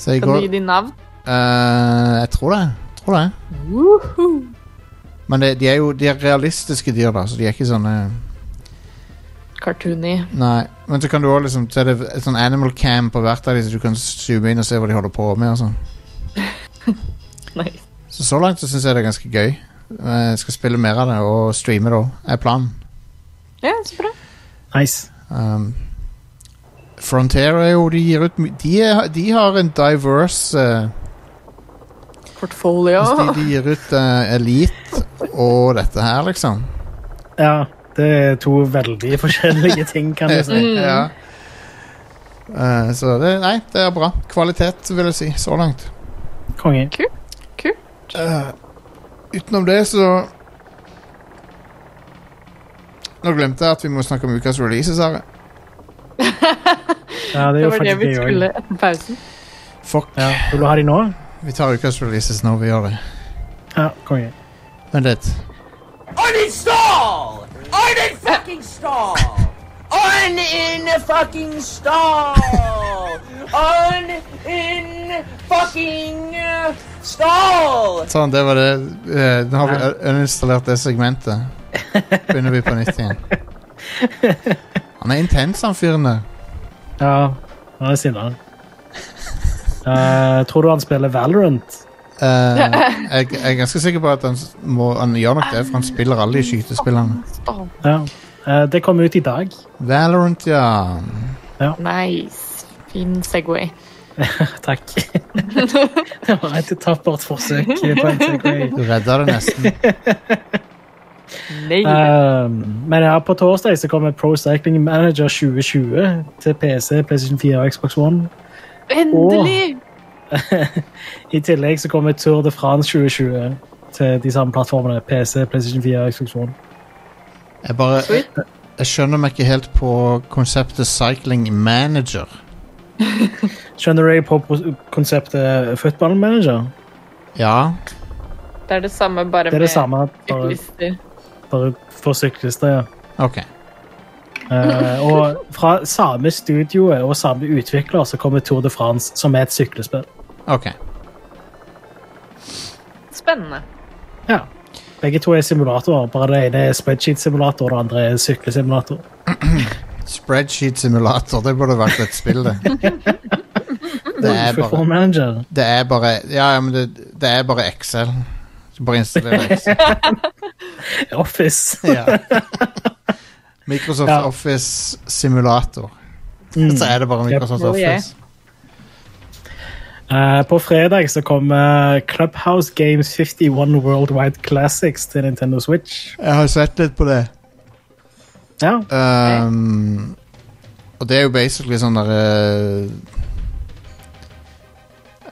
Speaker 1: Så i
Speaker 3: Kan du
Speaker 1: går
Speaker 3: gi dem navn?
Speaker 1: eh, Jeg tror det. Jeg tror det.
Speaker 3: Woohoo!
Speaker 1: Men det, de er jo de er realistiske dyr, da, så de er ikke sånne
Speaker 3: Cartoony.
Speaker 1: Nei. Men så kan du òg liksom Så er det et sånn animal cam på hvert av de, så du kan zoome inn og se hva de holder på med og sånn.
Speaker 3: Nei.
Speaker 1: Så så langt så syns jeg det er ganske gøy. Eh, Jeg skal spille mer av det og streame det òg, er planen.
Speaker 3: Ja, så bra.
Speaker 2: Nice.
Speaker 1: Um, Frontier er jo De gir ut my- De, er, de har en diverse eh,
Speaker 3: Portfolio.
Speaker 1: altså de, de gir ut eh, Elite og dette her, liksom.
Speaker 2: Ja, det er to veldig forskjellige ting, kan jeg
Speaker 3: Mm.
Speaker 2: si.
Speaker 1: ja. Eh, så det Nei, det er bra. Kvalitet, vil jeg si. Så langt.
Speaker 2: Konge.
Speaker 1: Eh, utenom det, så Nå glemte jeg at vi må snakke om ukas releases. Are.
Speaker 2: Ja, det er
Speaker 3: Det
Speaker 2: jo
Speaker 3: var det
Speaker 2: faktisk
Speaker 3: vi
Speaker 2: det
Speaker 3: skulle
Speaker 2: òg.
Speaker 3: etter pausen.
Speaker 1: Fuck.
Speaker 2: Ja, vil du ha de nå?
Speaker 1: Vi tar ukas releases når vi gjør det.
Speaker 2: Ja, konge.
Speaker 1: Vent litt.
Speaker 5: Uninstall! Uninstall! Uninstall! Uninstall!
Speaker 1: Sånn, det var det. Eh, nå har vi un- uninstallert det segmentet. Begynner vi på nytt igjen. Han er intens, han fyren der.
Speaker 2: Ja, han er sinna. Eh, tror du han spiller Valorant?
Speaker 1: Eh, jeg, jeg er ganske sikker på at han, s- må, han gjør nok det, for han spiller alle de skytespillene.
Speaker 3: Stop.
Speaker 2: Ja. Eh, det kom ut i dag.
Speaker 1: Valorant, ja.
Speaker 3: Nice. Fin Segway.
Speaker 2: Takk. det var et tappert forsøk. på en segway.
Speaker 1: Du redda det nesten.
Speaker 3: Nei.
Speaker 2: Eh, men ja, på torsdag så kommer Pro Cycling Manager 2020 til PC, PlayStation 4 og Xbox One.
Speaker 3: Endelig!
Speaker 2: Eh, I tillegg så kommer Tour de France 2020 til de samme plattformene. PC, PlayStation 4 og Xbox One.
Speaker 1: Jeg bare
Speaker 3: Sweet.
Speaker 1: Jeg skjønner meg ikke helt på konseptet cycling manager.
Speaker 2: Skjønner du på pro- konseptet Football Manager?
Speaker 1: Ja,
Speaker 3: Det er det samme, bare
Speaker 2: Det er det samme, bare,
Speaker 3: syklister.
Speaker 2: bare for syklister. ja.
Speaker 1: OK.
Speaker 2: Eh, og fra samme studio og samme utvikler så kommer Tour de France, som er et syklespill.
Speaker 1: ok
Speaker 3: Spennende.
Speaker 2: Ja. Begge to er simulatorer. Bare det ene er spreadsheet-simulator, det andre er syklesimulator.
Speaker 1: Spreadsheet simulator, det burde vært et spill, det. Det er bare,
Speaker 2: Football Manager.
Speaker 1: det er bare Ja, ja, men det, det er bare Excel. Så bare installer Excel.
Speaker 2: Office.
Speaker 1: Ja. Microsoft
Speaker 2: Ja.
Speaker 1: Office simulator. Så er det bare Microsoft
Speaker 3: Yep. Oh, yeah.
Speaker 1: Office.
Speaker 2: Eh, på fredag så kommer Clubhouse Games 51 Worldwide Classics til Nintendo Switch.
Speaker 1: Jeg har sett litt på det.
Speaker 2: Ja,
Speaker 1: Um, og det er jo basically sånn der eh,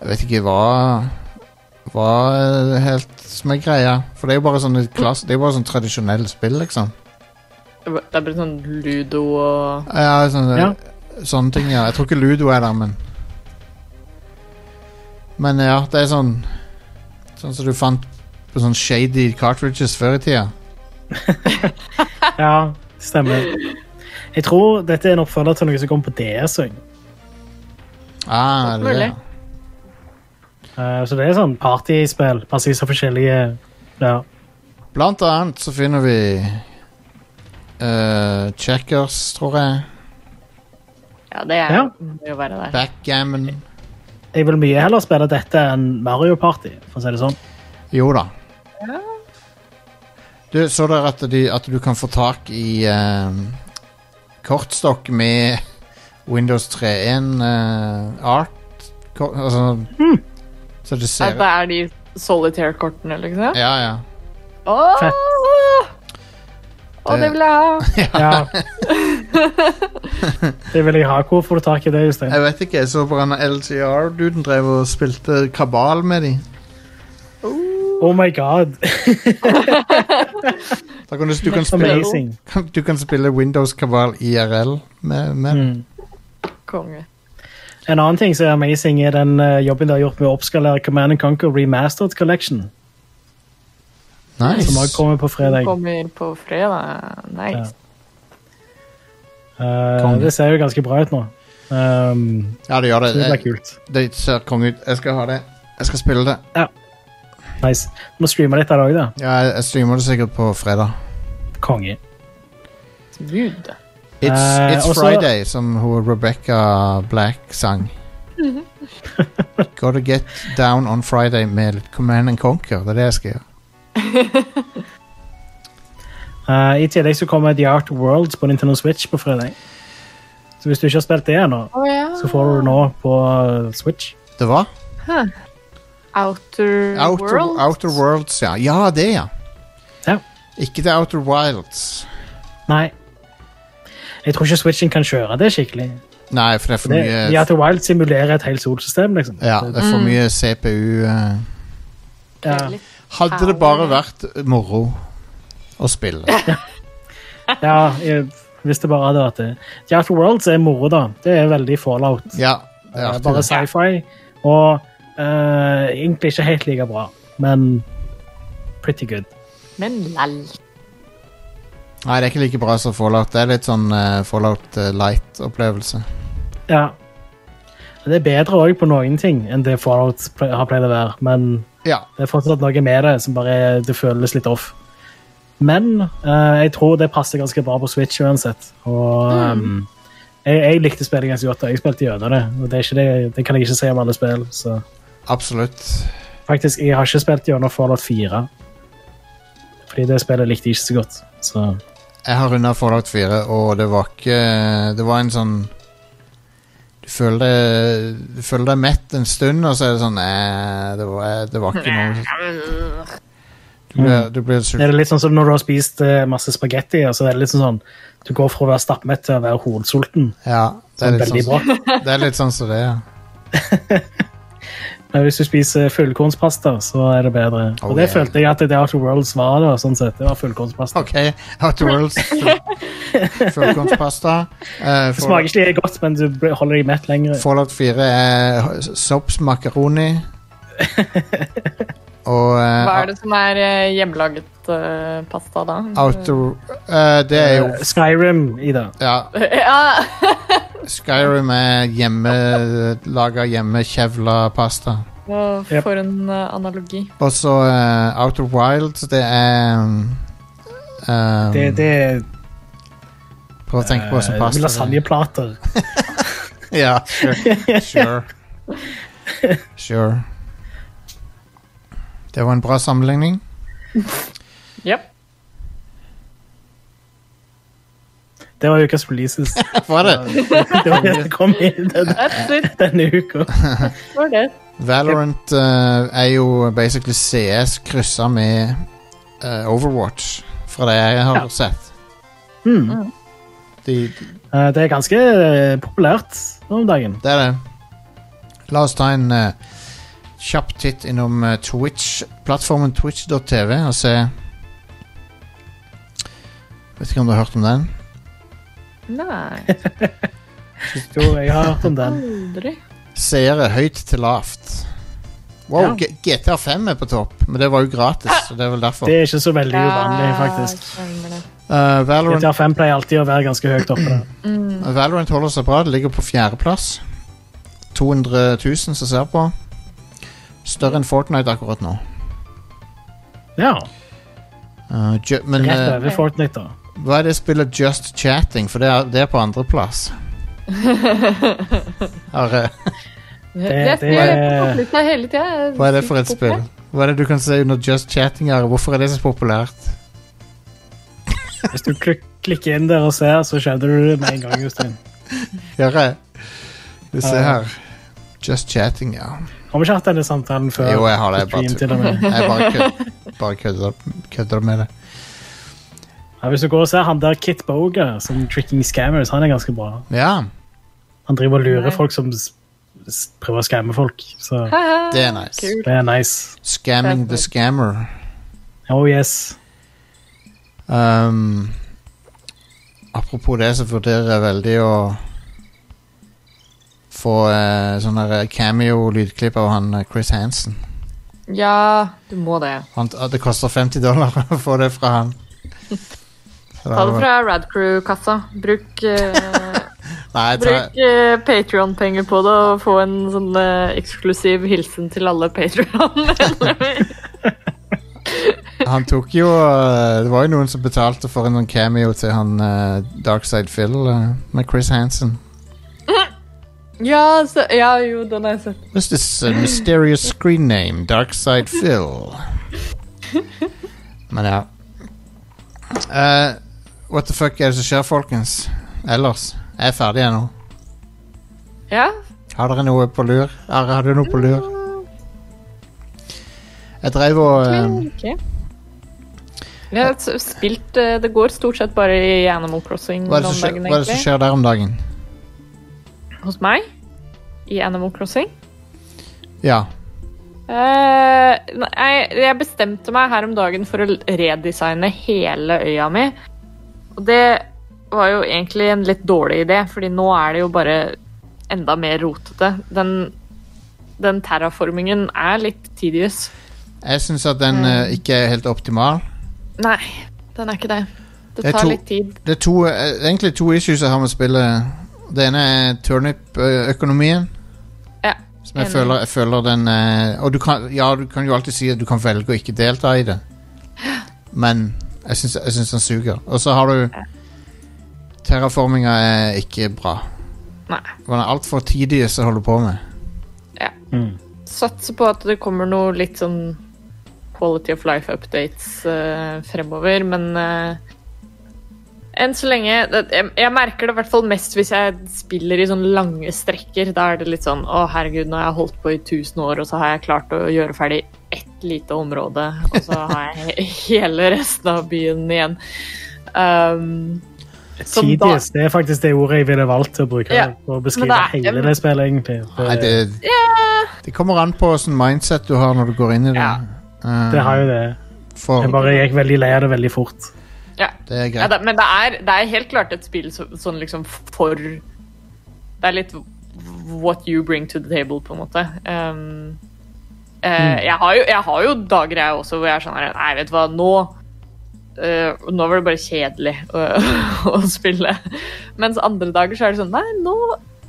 Speaker 1: Jeg vet ikke hva Hva eh, helt som er greia. For det er jo bare sånne klass, Det er jo bare sånn tradisjonelle spill, liksom.
Speaker 3: Det er bare sånn ludo og
Speaker 1: Ja, sånne,
Speaker 2: Ja.
Speaker 1: sånne ting, ja. Jeg tror ikke Ludo er der, men Men ja, det er sånn Sånn som du fant på sånn shady cartridges før i tida.
Speaker 2: ja stemmer. Jeg tror dette er en oppfølger til noe som kom på DS. også.
Speaker 1: Ah,
Speaker 3: Godt
Speaker 1: det, er det.
Speaker 3: mulig.
Speaker 2: Eh, så det er sånn partyspill. Presis av forskjellige ja.
Speaker 1: Blant annet så finner vi eh, Checkers, tror jeg.
Speaker 3: Ja, det er,
Speaker 2: Ja.
Speaker 3: må jo være der.
Speaker 1: Backgammon.
Speaker 2: Jeg vil mye heller spille dette enn Mario Party, for å si det sånn.
Speaker 1: Jo da. Du, så dere at, de, at du kan få tak i eh, kortstokk med Windows 3.1 eh, art? Kor, altså Så det ser
Speaker 3: At det Altså, er de solitaire-kortene, liksom?
Speaker 1: Ja, ja.
Speaker 3: Åh!
Speaker 2: Fett.
Speaker 3: Å, det vil jeg ha!
Speaker 2: Ja. Det vil jeg ha. Hvor får du tak i det, Jostein?
Speaker 1: Jeg vet ikke. Jeg så bare en LGR-duden drev og spilte kabal med de.
Speaker 2: Oh my god.
Speaker 1: Da kan du, du kan spille,
Speaker 2: Amazing.
Speaker 1: du kan spille Windows kabal IRL med, med
Speaker 2: Mm.
Speaker 1: den.
Speaker 3: Konge.
Speaker 2: En annen ting som er amazing, er den eh, jobben de har gjort med å oppskalere Command Conquer Remastered Collection,
Speaker 1: Nice.
Speaker 2: som også kommer på fredag.
Speaker 3: Kommer på fredag. Nice.
Speaker 2: Eh,
Speaker 1: Konge.
Speaker 2: det ser jo ganske bra ut nå. Um,
Speaker 1: Ja, det gjør det.
Speaker 2: så det blir
Speaker 1: Det,
Speaker 2: kult.
Speaker 1: det ser konge ut. Jeg skal ha det. Jeg skal spille det.
Speaker 2: Nice. Må streame litt av det òg, da.
Speaker 1: Ja, jeg, jeg streamer det sikkert på fredag.
Speaker 2: Konge.
Speaker 3: Gud.
Speaker 1: It's,
Speaker 2: Eh,
Speaker 1: it's
Speaker 2: og så-
Speaker 1: Friday, som hun Rebecca Black sang.
Speaker 2: Mhm.
Speaker 1: Gotta get down on Friday med litt Command and Conquer. Det er det jeg skal gjøre.
Speaker 2: Eh, I tillegg så kommer The Art Worlds på Nintendo Switch på fredag. Så hvis du ikke har spilt det ennå,
Speaker 3: Å ja.
Speaker 2: så får du det nå på eh, Switch.
Speaker 1: Det var
Speaker 3: Outer,
Speaker 1: Outer,
Speaker 3: World.
Speaker 1: Outer Worlds, ja. Ja, det, ja.
Speaker 2: Ja.
Speaker 1: Ikke The Outer Wilds.
Speaker 2: Nei. Jeg tror ikke Switchen kan kjøre det skikkelig.
Speaker 1: Nei, for det er for
Speaker 2: Det,
Speaker 1: mye
Speaker 2: The Outer Wild simulerer et helt solsystem, liksom.
Speaker 1: Ja, det er for mye CPU. eh.
Speaker 2: Ja.
Speaker 1: Hadde det bare vært moro å spille.
Speaker 2: Ja, jeg, hvis det bare hadde vært det. The Outer Worlds er moro, da. Det er veldig fallout.
Speaker 1: Ja, det er
Speaker 2: Det er
Speaker 1: artig.
Speaker 2: Eh, bare
Speaker 1: det.
Speaker 2: sci-fi. Og eh, egentlig ikke helt like bra, men pretty good.
Speaker 3: Men lall.
Speaker 1: Nei, det er ikke like bra som Fallout. Det er litt sånn eh, Fallout eh, Light-opplevelse.
Speaker 2: Ja. Det er bedre òg på noen ting enn det fallout ple- har pleid å være, men
Speaker 1: Ja.
Speaker 2: det er fortsatt noe med det som bare er- det føles litt off. Men eh, jeg tror det passer ganske bra på Switch uansett. Og
Speaker 1: Mm.
Speaker 2: ehm, jeg, jeg likte spillet ganske godt. da. Jeg spilte gjennom det, og det, er ikke det, det kan jeg ikke si om alle spill. så...
Speaker 1: Absolutt.
Speaker 2: Faktisk, jeg har ikke spilt gjennom Fallout 4. Fordi det spillet likte jeg ikke så godt. Så
Speaker 1: Jeg har runda Fallout 4, og det var ikke Det var en sånn Du føler deg, du føler deg mett en stund, og så er det sånn eh, det, var, det var ikke noe Du blir, du blir
Speaker 2: er
Speaker 1: sulten.
Speaker 2: det litt sånn som når du har spist eh, masse spagetti, og så er det litt sånn sånn Du går fra å være stappmett til å være hovedsulten.
Speaker 1: Ja, det
Speaker 2: Sånn
Speaker 1: er litt
Speaker 2: veldig
Speaker 1: sånn, det er litt sånn som det, ja.
Speaker 2: Men hvis du spiser fullkornspasta, så er det bedre.
Speaker 1: Oh,
Speaker 2: og det
Speaker 1: yeah.
Speaker 2: følte jeg at The Outer Worlds var, da, sånn sett. Det var fullkornspasta.
Speaker 1: OK, Outer Worlds. Fullkornspasta. Eh,
Speaker 2: Det smaker ikke like godt, men du blir- holder deg mett lenger.
Speaker 1: Fallout 4 er h- sops makaroni. Og eh,
Speaker 3: Hva er det som er eh, hjemmelaget eh, pasta, da?
Speaker 1: Outer eh, Det er jo
Speaker 2: Eh, Skyrim, Ida.
Speaker 1: Ja,
Speaker 3: Ja,
Speaker 1: Skyrim er hjemmelaga, hjemmekjevla pasta.
Speaker 3: Å,
Speaker 2: Yep.
Speaker 3: for en eh, analogi.
Speaker 1: Og så eh, Outer Wilds, det er um, um,
Speaker 2: Det, det er
Speaker 1: Prøv å tenke på hva som
Speaker 2: eh,
Speaker 1: passer.
Speaker 2: lasagneplater.
Speaker 1: Ja, sure. Sure. sure. Det var en bra sammenligning.
Speaker 3: Yep.
Speaker 2: Det var ukas releases.
Speaker 1: Var det?
Speaker 2: Det var det som kom inn den,
Speaker 3: That's it.
Speaker 2: denne uka.
Speaker 3: For det.
Speaker 1: Valorant eh, er jo basically CS kryssa med eh, Overwatch, fra det jeg har sett. Mm.
Speaker 2: Hmm.
Speaker 1: De,
Speaker 2: Eh, Det er ganske eh, populært nå om dagen.
Speaker 1: Det er det. La oss ta en eh, kjapp titt innom eh, Twitch. Plattformen twitch.tv og se Vet ikke om du har hørt om den?
Speaker 3: Nei,
Speaker 2: Jo, jeg har hørt om den.
Speaker 3: aldri.
Speaker 1: Seere høyt til lavt. Wow, G- GTA 5 er på topp, men det var jo gratis. Så det er vel derfor.
Speaker 2: Det er ikke så veldig uvanlig, faktisk.
Speaker 3: Ja, stemmer det.
Speaker 1: Eh, Valorant,
Speaker 2: GTA5 pleier alltid å være ganske høyt oppe. der.
Speaker 3: Mm.
Speaker 1: Valorant holder seg bra. Det ligger på fjerdeplass. 200 000 som ser på. Større enn Fortnite akkurat nå.
Speaker 2: Ja,
Speaker 1: Eh, ju- men
Speaker 2: Rett
Speaker 1: eh,
Speaker 2: over Fortnite, da.
Speaker 1: Hva er det spillet Just Chatting? For det er, det er på andreplass.
Speaker 3: Det,
Speaker 2: det-
Speaker 3: det,
Speaker 2: det-
Speaker 3: det, det hele tiden.
Speaker 1: Hva er det for et spill? Hva er det du kan si under Just Chatting? Are? Hvorfor er det så populært?
Speaker 2: Hvis du klik klikker inn der og ser, så skjønner du det med en gang. Justin.
Speaker 1: Hører jeg? Du ser her. Just Chatting, ja.
Speaker 2: Har vi ikke hatt denne samtalen før?
Speaker 1: Jo, jeg har det. Jeg bare
Speaker 2: Stream til
Speaker 1: tuller.
Speaker 2: og med.
Speaker 1: Jeg bare kød- bare kødder, kødder med det.
Speaker 2: Ja, hvis du går og ser han der Kit Boger, som Tricking Scammers, han er ganske bra.
Speaker 1: Ja,
Speaker 2: Han driver og lurer
Speaker 3: Nei.
Speaker 2: folk som s s prøver å skamme folk, så
Speaker 1: det er nice.
Speaker 3: Kult.
Speaker 2: det er nice.
Speaker 1: Scamming the Scammer.
Speaker 2: Oh yes.
Speaker 1: Um, apropos det, så vurderer jeg veldig å få eh, sånn her cameo-lydklipp av han eh, Chris Hansen.
Speaker 3: Ja, du må det.
Speaker 1: Han, at det koster 50 dollar å få det fra han. Så
Speaker 3: Ta det
Speaker 1: var-
Speaker 3: fra Radcrew-kassa. Bruk, eh,
Speaker 1: Nei, ta,
Speaker 3: bruk Patrion-penger på det og få en sånn eh, eksklusiv hilsen til alle Patrion-medlemmer.
Speaker 1: han tok jo eh, Det var jo noen som betalte for en sånn cameo til han eh, Darkside Phil eh, med Chris Hansen.
Speaker 3: ja, så, ja, jo, den har jeg sett.
Speaker 1: This is a mysterious screen name, Darkside Phil. Men ja. Eh, what the fuck er det som skjer, folkens? Ellers? Jeg er ferdig ennå.
Speaker 3: Ja.
Speaker 1: Har dere noe på lur? Are, har du noe på lur? Jeg dreiv og eh,
Speaker 3: ok. Jeg har s- spilt eh, Det går stort sett bare i Animal Crossing
Speaker 1: hva, er det
Speaker 3: om
Speaker 1: som skjer,
Speaker 3: dagen,
Speaker 1: hva er det som
Speaker 3: egentlig.
Speaker 1: skjer der om dagen?
Speaker 3: Hos meg i Animal Crossing.
Speaker 1: Ja.
Speaker 3: Eh, nei, jeg bestemte meg her om dagen for å redesigne hele øya mi. Og det var jo egentlig en litt dårlig idé, fordi nå er det jo bare enda mer rotete. Den, den terraformingen er litt tedious.
Speaker 1: Jeg syns at den eh, ikke er helt optimal.
Speaker 3: Nei, den er ikke det. Det
Speaker 1: Jeg
Speaker 3: tar
Speaker 1: tror-
Speaker 3: litt tid.
Speaker 1: Det er to, eh, egentlig to issues jeg har med spillet. Det ene er eh, turnip-økonomien.
Speaker 3: Ja,
Speaker 1: Som jeg
Speaker 3: Enig.
Speaker 1: føler, jeg føler den eh, Og du kan, ja, du kan jo alltid si at du kan velge å ikke delta i det, men jeg syns, jeg syns den suger. Og så har du Terraforminga er ikke bra.
Speaker 3: Nei.
Speaker 1: Den er altfor tidig å holde på med.
Speaker 3: Satser på at det kommer noe litt sånn quality of life-updates eh, fremover, men eh, enn så lenge det, jeg, jeg merker det i hvert fall mest hvis jeg spiller i sånne lange strekker. Da er det litt sånn Å, herregud, nå har jeg holdt på i 1000 år, og så har jeg klart å gjøre ferdig ett lite område, og så har jeg he- hele resten av byen igjen. Um, Som da-
Speaker 2: Tidligst, det er faktisk det ordet jeg ville valgt til å bruke
Speaker 3: Ja,
Speaker 2: for å beskrive
Speaker 3: men det er-
Speaker 2: hele det spillet, egentlig.
Speaker 1: Nei, det,
Speaker 3: ja,
Speaker 1: Det kommer an på åssen mindset du har når du går inn i det.
Speaker 3: Ja.
Speaker 1: Eh,
Speaker 2: Det har jo det.
Speaker 1: for
Speaker 2: Jeg bare gikk veldig lei av det veldig fort.
Speaker 3: Ja.
Speaker 1: Det er
Speaker 3: Ja,
Speaker 1: greit.
Speaker 3: da, men det er, det er helt klart et spill så, sånn liksom for Det er litt what you bring to the table, på en måte. Um, eh, jeg, har jo, jeg har jo dager jeg også hvor jeg er sånn her Nei, vet du hva, nå eh, Nå var det bare kjedelig å, å spille. Mens andre dager så er det sånn Nei, nå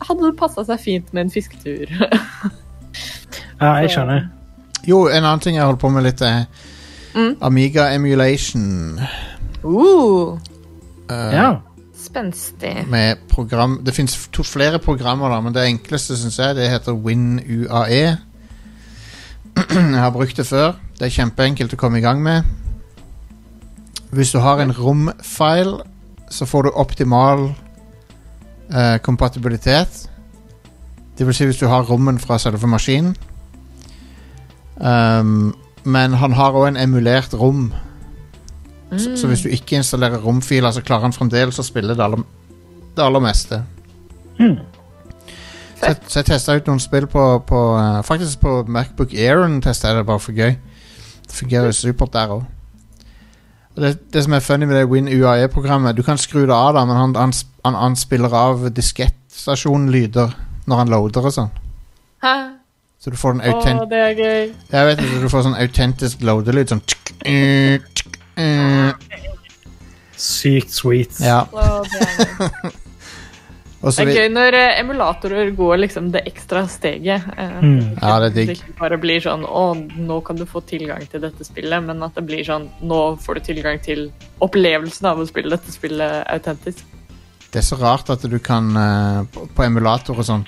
Speaker 3: hadde det passa seg fint med en fisketur.
Speaker 2: Ja, jeg skjønner.
Speaker 1: Jo, en annen ting jeg holder på med litt, er
Speaker 3: Mm.
Speaker 1: Amiga Emulation.
Speaker 3: uh,
Speaker 1: eh,
Speaker 2: Ja.
Speaker 3: spenstig.
Speaker 1: Med program Det fins flere programmer, da, men det enkleste syns jeg det heter WinUAE. E. jeg har brukt det før. Det er kjempeenkelt å komme i gang med. Hvis du har en romfile, så får du optimal eh, kompatibilitet. Det vil si hvis du har rommen fra selve maskinen. Ehm, men han har òg en emulert rom. Så, så hvis du ikke installerer romfiler, så klarer han fremdeles å spille det aller, det aller meste.
Speaker 3: Hmm.
Speaker 1: Så, jeg- så jeg testa ut noen spill på, på eh, Faktisk på Macbook Airen testa jeg det bare for gøy. Det fungerer jo supert der òg. Og det, det som er funny med det WinUAE-programmet Du kan skru det av, da, men han, han, sp- han, han spiller av diskettstasjonlyder når han loader og sånn.
Speaker 3: Hæ?
Speaker 1: Så du får den
Speaker 3: Å,
Speaker 1: autent...
Speaker 3: det er gøy.
Speaker 1: Jeg vet ikke, du får sånn autentisk loadelyd. Sånn tsk, eh, tsk, eh.
Speaker 2: Sykt sweet.
Speaker 1: Ja.
Speaker 3: Å, det er gøy.
Speaker 1: Og så
Speaker 3: Det er
Speaker 1: vi,
Speaker 3: gøy når eh, emulatorer går liksom det ekstra steget. eh,
Speaker 1: ja, det er
Speaker 3: Det
Speaker 1: digg.
Speaker 3: ikke bare blir sånn 'Å, nå kan du få tilgang til dette spillet', men at det blir sånn 'Nå får du tilgang til opplevelsen av å spille dette spillet autentisk'.
Speaker 1: Det er så rart at du kan eh, på- På emulator og sånn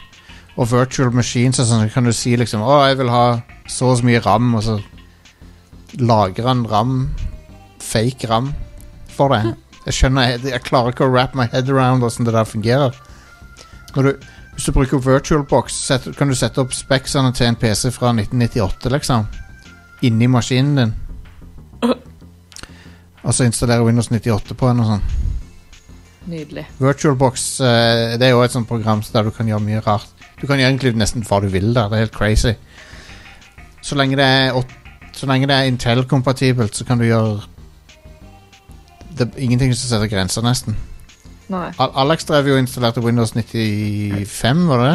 Speaker 1: Og virtual machines og sånn så Kan du si liksom Å, jeg vil ha så og så mye RAM Og så lager han RAM Fake RAM For det Jeg skjønner Jeg, jeg klarer ikke å wrap my head around Hvordan det der fungerer Når du Hvis du bruker VirtualBox så setter- Kan du sette opp speksene til en PC fra 1998 liksom Inni maskinen din Og så installere Windows 98 på den og sånn
Speaker 3: Nydelig.
Speaker 1: VirtualBox eh, det er jo et sånt program der du kan gjøre mye rart. Du kan egentlig nesten hva du vil der. Det er helt crazy. Så lenge det er, åt- så lenge det er Intel-kompatibelt, så kan du gjøre det er ingenting som setter grenser, nesten.
Speaker 3: Nei.
Speaker 1: Al Alex drev jo og installerte Windows 95, var det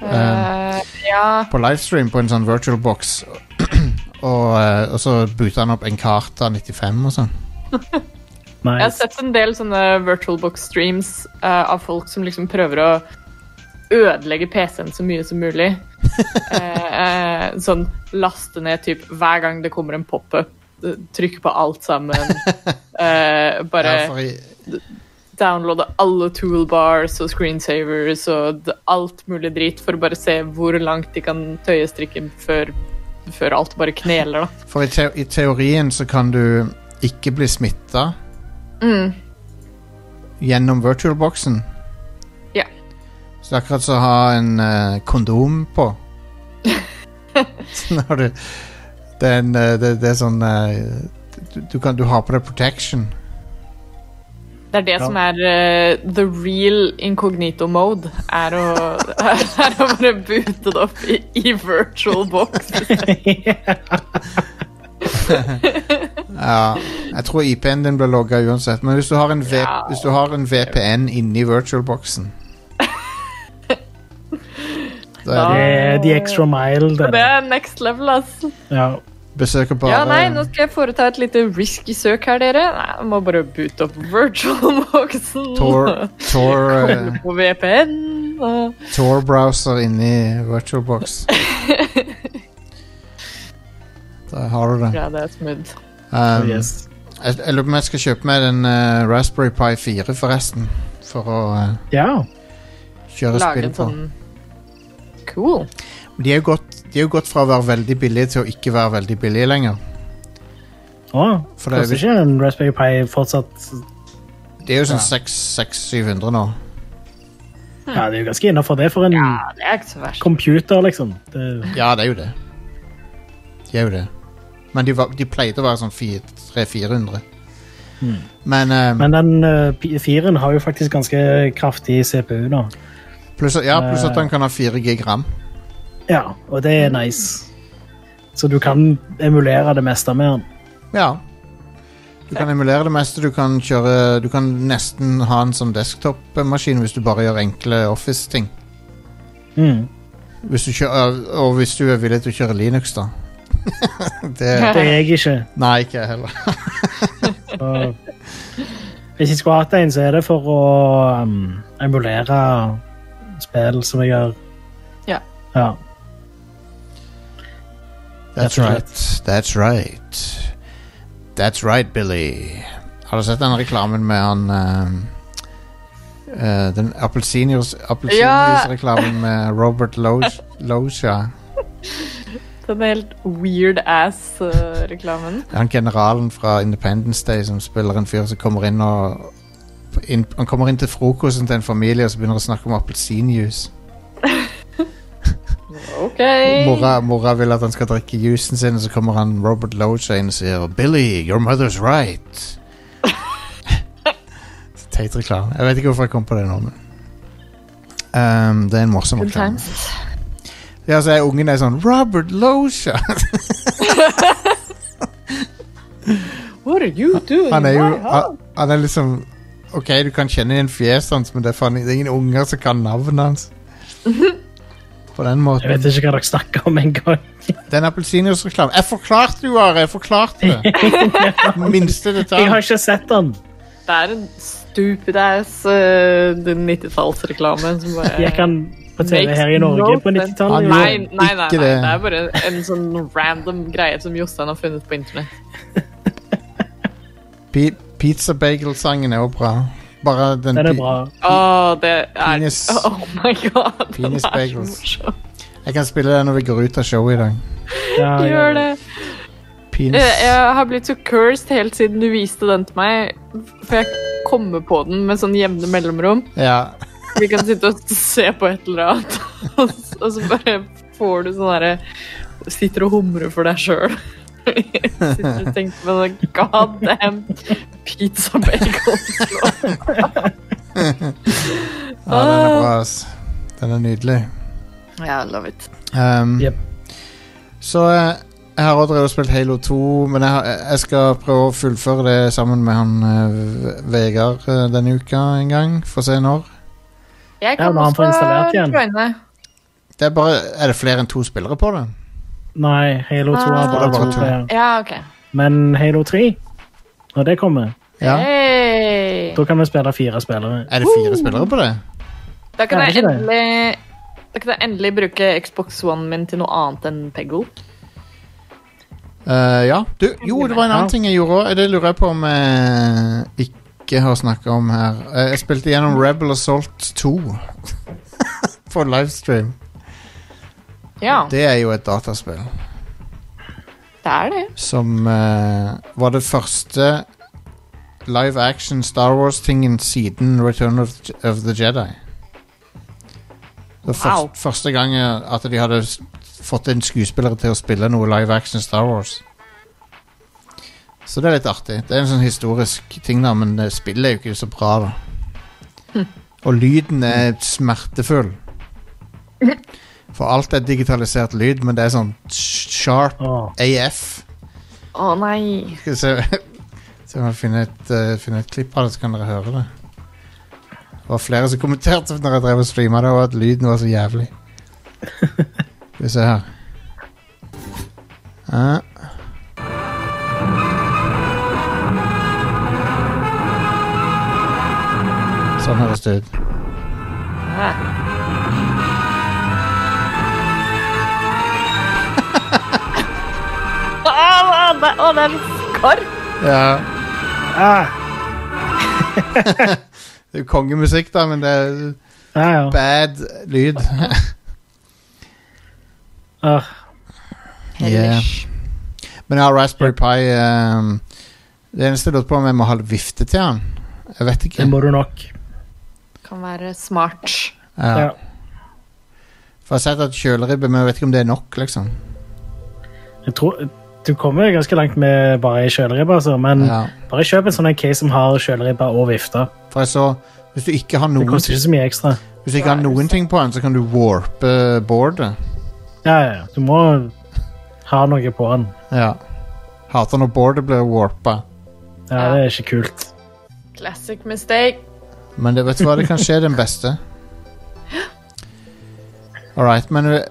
Speaker 1: det?
Speaker 3: Eh, ja
Speaker 1: På livestream på en sånn VirtualBox. og, eh, og så bootet han opp Encarta 95 og sånn.
Speaker 3: Jeg har
Speaker 2: Nice.
Speaker 3: sett en del sånne VirtualBox-streams eh, av folk som liksom prøver å ødelegge PC-en så mye som mulig. Eh, eh, sånn laste ned typ hver gang det kommer en pop-up. eh, Trykke på alt sammen. Eh, bare
Speaker 1: Ja, sånn. for i-
Speaker 3: downloade alle toolbars og screensavers og d- alt mulig drit for å bare se hvor langt de kan tøye strikken før, før alt bare kneler, da.
Speaker 1: For i, te i teorien så kan du ikke bli smitta gjennom virtualboxen.
Speaker 3: Ja.
Speaker 1: Så det er akkurat som å ha en eh, kondom på. så når du Det er, en, eh, det, det er sånn eh, du, du, kan, du har på deg protection.
Speaker 3: Det er det som er eh, the real incognito mode. Er å, er å bare boote det opp i, i virtual box.
Speaker 1: Ja, jeg tror IP-en din blir logga uansett. Men hvis du har en, v
Speaker 3: Ja.
Speaker 1: hvis du har en VPN inni virtualboxen Da
Speaker 2: Det er the extra mile. Det. er
Speaker 3: Det
Speaker 2: det.
Speaker 3: er next level, ass.
Speaker 2: Ja.
Speaker 1: besøker bare
Speaker 3: Ja, nei, nå skal jeg foreta et lite risky søk her, dere. Nei, jeg må bare boote opp virtual boxen.
Speaker 1: Tor, Tor, eh,
Speaker 3: Koble på VPN. Og...
Speaker 1: Tor-browser inni VirtualBox. Der har du det.
Speaker 3: Ja, det er smooth.
Speaker 1: Um, jeg,
Speaker 2: Oh, Yes.
Speaker 1: jeg lurer på om jeg skal kjøpe meg den eh, Raspberry Pi 4, forresten. For å eh,
Speaker 2: Ja.
Speaker 1: kjøre
Speaker 3: Lage
Speaker 1: spill
Speaker 3: en
Speaker 1: på.
Speaker 3: sånn Cool.
Speaker 1: De er, jo gått, de er jo gått fra å være veldig billige til å ikke være veldig billige lenger.
Speaker 2: Å,
Speaker 1: For det er
Speaker 2: koster ikke en Raspberry Pi fortsatt
Speaker 1: Det er jo sånn 600-700 nå.
Speaker 2: Ja, det er jo ganske innafor det for en
Speaker 3: Ja, det er ikke så verst.
Speaker 2: computer, liksom. Det,
Speaker 1: Ja, det er jo det. De er jo det. Men de, var, de pleide å være sånn 300-400. Men, eh,
Speaker 2: Hmm. men den eh, P- 4-en har jo faktisk ganske kraftig CPU nå.
Speaker 1: pluss, at- ja, pluss at han kan ha 4 gig ram.
Speaker 2: Ja, og det er nice. Så du kan emulere det meste med den.
Speaker 1: Ja. Du kan emulere det meste. Du kan, kjøre, du kan nesten ha en som desktop-maskin hvis du bare gjør enkle office-ting.
Speaker 2: Mm.
Speaker 1: Hvis du kjører, og hvis du er villig til å kjøre Linux, da. det
Speaker 2: Det er jeg ikke.
Speaker 1: Nei, ikke jeg heller.
Speaker 2: Så, hvis jeg skulle hatt en, så er det for å um, emulere spill som jeg gjør.
Speaker 3: Ja.
Speaker 2: Ja.
Speaker 1: That's
Speaker 2: That's right.
Speaker 1: right. That's right. That's right, Billy. Har du sett den reklamen med han ehm, eh, Den appelsinjus- appelsinjus-reklamen med Robert Loge- Loggia?
Speaker 3: Den Sånn helt weird eh, ass-reklamen.
Speaker 1: Han generalen fra Independence Day som spiller en fyr som kommer inn og inn, Han kommer inn til frokosten til en familie og så begynner han å snakke om appelsinjuice.
Speaker 3: OK.
Speaker 1: Mora, mora vil at han skal drikke jusen sin, og så kommer han Robert Loja inn og sier Billy, your mother's right. Så Teit reklame. Jeg vet ikke hvorfor jeg kom på det nå, men Ehm, Det er en morsom
Speaker 3: Good
Speaker 1: reklame.
Speaker 3: times.
Speaker 1: Ja, så er ungen er sånn Robert Loja!
Speaker 3: What are you doing?
Speaker 1: Han er jo
Speaker 3: My house?
Speaker 1: han, han er liksom OK, du kan kjenne igjen fjeset hans, men det er, faen, det er ingen unger som kan navnet hans. På den
Speaker 2: Jeg
Speaker 1: måten.
Speaker 2: vet ikke hva dere snakker om engang.
Speaker 1: Den appelsinjuice-reklamen Jeg forklarte jo, Are! Jeg forklarte det! Minste
Speaker 2: Jeg
Speaker 1: detalj.
Speaker 2: har ikke sett den.
Speaker 3: Det er en stupid ass uh, 90-tallsreklame som bare
Speaker 2: Jeg kan på TV
Speaker 3: Makes
Speaker 2: her i Norge
Speaker 3: no
Speaker 2: på
Speaker 1: sense.
Speaker 2: 90-tallet.
Speaker 1: Han
Speaker 3: Nei,
Speaker 1: gjorde
Speaker 3: nei, nei, nei,
Speaker 1: ikke
Speaker 3: det
Speaker 1: det.
Speaker 3: er bare en sånn random greie som Jostein har funnet på internett.
Speaker 1: Pi- Pizza Bagel-sangen er jo bra. Bare den,
Speaker 2: Den er
Speaker 1: pi-
Speaker 2: bra.
Speaker 3: Åh, det er
Speaker 1: Penis-
Speaker 3: Oh my god. den
Speaker 1: Penis
Speaker 3: er så
Speaker 1: bagels.
Speaker 3: morsom.
Speaker 1: Jeg kan spille den når vi går ut av showet i dag.
Speaker 2: Ja,
Speaker 3: Gjør det.
Speaker 1: Penis.
Speaker 3: Jeg, jeg har blitt så cursed helt siden du viste den til meg. For jeg kommer på den med sånn jevne mellomrom.
Speaker 1: Ja.
Speaker 3: Vi kan sitte og se på et eller annet, og s- og så bare får du sånn derre Sitter og humrer for deg sjøl. Sitter og tenker på den god damn pizza bacon.
Speaker 1: ja, den er bra, ass. Den er nydelig.
Speaker 3: Ja, love it.
Speaker 1: Um,
Speaker 2: Jep.
Speaker 1: Så eh, jeg har også drevet og spilt Halo 2, men jeg, har- jeg skal prøve å fullføre det sammen med han eh, V- Vegard eh, denne uka en gang. Får se når.
Speaker 3: Jeg
Speaker 2: Ja,
Speaker 3: kan
Speaker 2: nå har han fått installert
Speaker 3: også
Speaker 2: igjen.
Speaker 3: joine.
Speaker 1: Det er, bare, er det flere enn to spillere på det?
Speaker 2: Nei, Halo 2 har
Speaker 1: Ah.
Speaker 2: bare to
Speaker 1: Bare to.
Speaker 2: flere.
Speaker 3: Ja, OK.
Speaker 2: Men Halo 3, når det kommer,
Speaker 1: Ja.
Speaker 3: Hey.
Speaker 2: da kan vi spille fire spillere.
Speaker 1: Er det fire spillere på det?
Speaker 3: Da kan
Speaker 2: Ja,
Speaker 3: jeg
Speaker 2: det er ikke
Speaker 3: endelig da kan jeg endelig bruke Xbox One min til noe annet enn Peggle.
Speaker 1: Eh, ja. Du, jo, det var en annen
Speaker 2: Ja.
Speaker 1: ting jeg gjorde òg. Det lurer jeg på om jeg ikke har snakka om her. Eh, jeg spilte gjennom Rebel Assault 2 på livestream.
Speaker 3: Ja,
Speaker 1: Det er jo et dataspill
Speaker 3: det er det.
Speaker 1: som eh, var det første live action Star Wars-tingen siden Return of, of the Jedi. Det var
Speaker 3: Wow.
Speaker 1: først, første gang eh, at de hadde s- fått en skuespiller til å spille noe live action Star Wars. Så det er litt artig. Det er en sånn historisk ting, da, men eh, spillet er jo ikke så bra, da. Og lyden er smertefull. For alt er digitalisert lyd, men det er sånn sharp
Speaker 2: Åh,
Speaker 1: AF.
Speaker 3: Å nei.
Speaker 1: Skal vi se Se om jeg finner et, eh, finner et klipp av det, så kan dere høre det. Det var flere som kommenterte når jeg drev og streama det, og at lyden var så jævlig. Skal vi se her. Ja. Sånn høres det ut.
Speaker 3: Ah, ah, det- Å, det er litt skarpt.
Speaker 1: Ja.
Speaker 2: Ah,
Speaker 1: Det er jo kongemusikk, da, men det er
Speaker 2: ja, ja.
Speaker 1: bad lyd.
Speaker 2: Ah,
Speaker 1: Yeah. Men jeg har Raspberry Pi ehm, Det eneste jeg lurte på om jeg må ha vifte til den. Jeg vet ikke.
Speaker 2: det må du nok.
Speaker 3: Kan være smart.
Speaker 1: Ja.
Speaker 2: Ja.
Speaker 1: For jeg har sett at kjøleribbe, men jeg vet ikke om det er nok, liksom.
Speaker 2: Jeg tror, du kommer jo ganske langt med bare ei kjøleribbe, altså, men
Speaker 1: Ja.
Speaker 2: bare kjøp en sånn en case som har kjøleribbe og vifte.
Speaker 1: For jeg så Hvis du ikke har
Speaker 2: Det
Speaker 1: noen,
Speaker 2: koster ikke så mye ekstra.
Speaker 1: eh, hvis du ikke har noen ting på den, så kan du warpe bordet.
Speaker 2: Ja, ja, ja. Du må ha noe på den.
Speaker 1: Ja. Hater når bordet blir warpa.
Speaker 2: Ja, det er ikke kult.
Speaker 3: Classic mistake.
Speaker 1: Men det, vet du hva, det kan skje den beste. All right, men eh,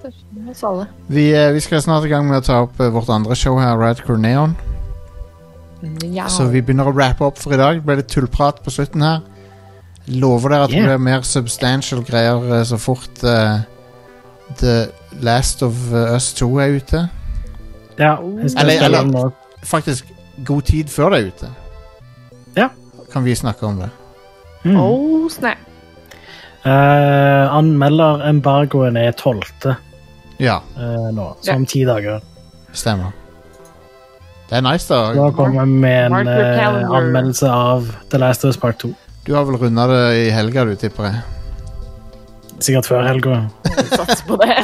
Speaker 3: Det skjer hos alle.
Speaker 1: vi, eh, vi skal snart i gang med å ta opp eh, vårt andre show her, Radcore Neon.
Speaker 3: Ja.
Speaker 1: Så vi begynner å rappe opp for i dag. Det ble litt tullprat på slutten her. Lover dere at
Speaker 2: Yeah.
Speaker 1: det blir mer substantial greier eh, så fort eh, The Last of eh, Us 2 er ute.
Speaker 2: Ja, jeg skal
Speaker 1: Eller-
Speaker 2: spille
Speaker 1: eller-
Speaker 2: den nå.
Speaker 1: Faktisk god tid før det er ute.
Speaker 2: Ja.
Speaker 1: Kan vi snakke om det.
Speaker 2: Mm.
Speaker 3: Oh, snap.
Speaker 2: Eh, Anmelderembargoen er 12.
Speaker 1: Ja,
Speaker 2: eh, nå,
Speaker 3: Ja.
Speaker 2: så om ti dager.
Speaker 1: stemmer. Det er nice, da.
Speaker 2: Da kommer vi med
Speaker 3: Mark
Speaker 2: en
Speaker 3: your
Speaker 2: eh,
Speaker 3: calendar.
Speaker 2: anmeldelse av The Last of Us Part 2.
Speaker 1: Du har vel runda det i helga, du, tipper jeg.
Speaker 2: Sikkert før helga.
Speaker 3: Sats på det.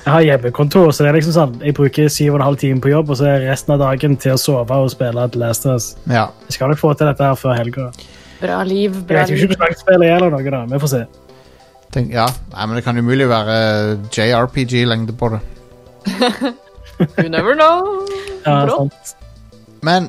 Speaker 2: Jeg har hjemmekontor, så det er liksom sånn jeg bruker syv og en halv time på jobb, og så er resten av dagen til å sove og spille The Last of Us.
Speaker 1: Ja.
Speaker 2: Jeg skal nok få til dette her før helga.
Speaker 3: Bra liv,
Speaker 2: Jeg
Speaker 3: bra
Speaker 2: vet jo ikke
Speaker 3: liv.
Speaker 2: hvor langt spillet er, eller noe, da. Vi får se.
Speaker 1: Tenk, ja. Nei, men det kan umulig være eh, JRPG-lengde på det.
Speaker 3: You never know.
Speaker 2: Ja, sånn.
Speaker 3: Bra.
Speaker 2: sant.
Speaker 1: Men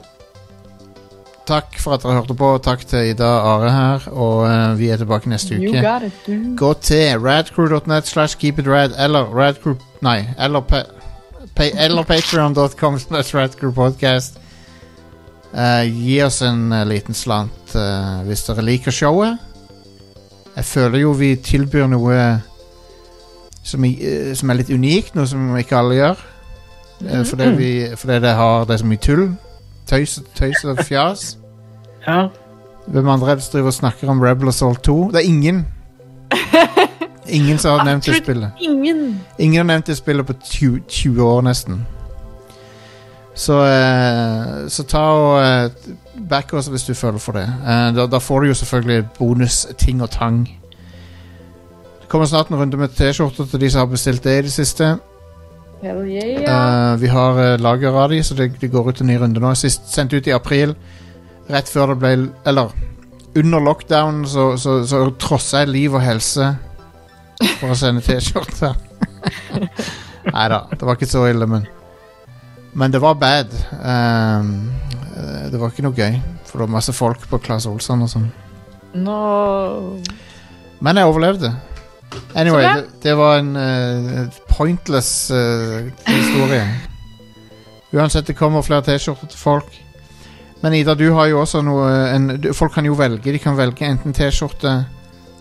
Speaker 1: takk for at dere hørte på. Takk til Ida og Are her, og eh, vi er tilbake neste
Speaker 3: You
Speaker 1: uke.
Speaker 3: got it, dude.
Speaker 1: Gå til radcrew.net slash keepitrad eller radcrew... Nei, eller, pa, pa, eller patreon.com slash radcrewpodcast. Eh, gi oss en eh, liten slant eh, hvis dere liker showet. Jeg føler jo vi tilbyr noe som, i- eh, som er litt unikt, noe som ikke alle gjør. Eh, fordi, vi, fordi det, har, det er så mye tull. Tøys, tøys og fjas.
Speaker 2: Ja.
Speaker 1: Hvem andre er det som driver og snakker om Rebel Assault 2? Det er ingen. Ingen som har nevnt det
Speaker 3: Absolutt
Speaker 1: spillet.
Speaker 3: Ingen.
Speaker 1: Ingen har nevnt det spillet på 20, 20 år, nesten. Så, eh, så ta og eh, back oss hvis du føler for det. Eh, da, da får du jo selvfølgelig bonusting og tang. Det kommer snart en runde med T-skjorter til de som har bestilt det i det siste.
Speaker 3: Hell yeah.
Speaker 1: Eh, vi har eh, lager av de, så det, det går ut en ny runde nå. Sist sendt ut i april, rett før det ble Eller under lockdown, så, så, så trossa jeg liv og helse for å sende T-skjorter. Nei da, det var ikke så ille, men Men det var bad. Ehm, eh, det var ikke noe gøy, for det var masse folk på Claes Olsson og sånn.
Speaker 3: No.
Speaker 1: Men jeg overlevde. Anyway,
Speaker 3: Så bra.
Speaker 1: det, det var en eh, pointless eh, historie. Uansett, det kommer flere T-skjorter til folk. Men Ida, du har jo også noe eh, en, du, Folk kan jo velge. De kan velge enten T-skjorte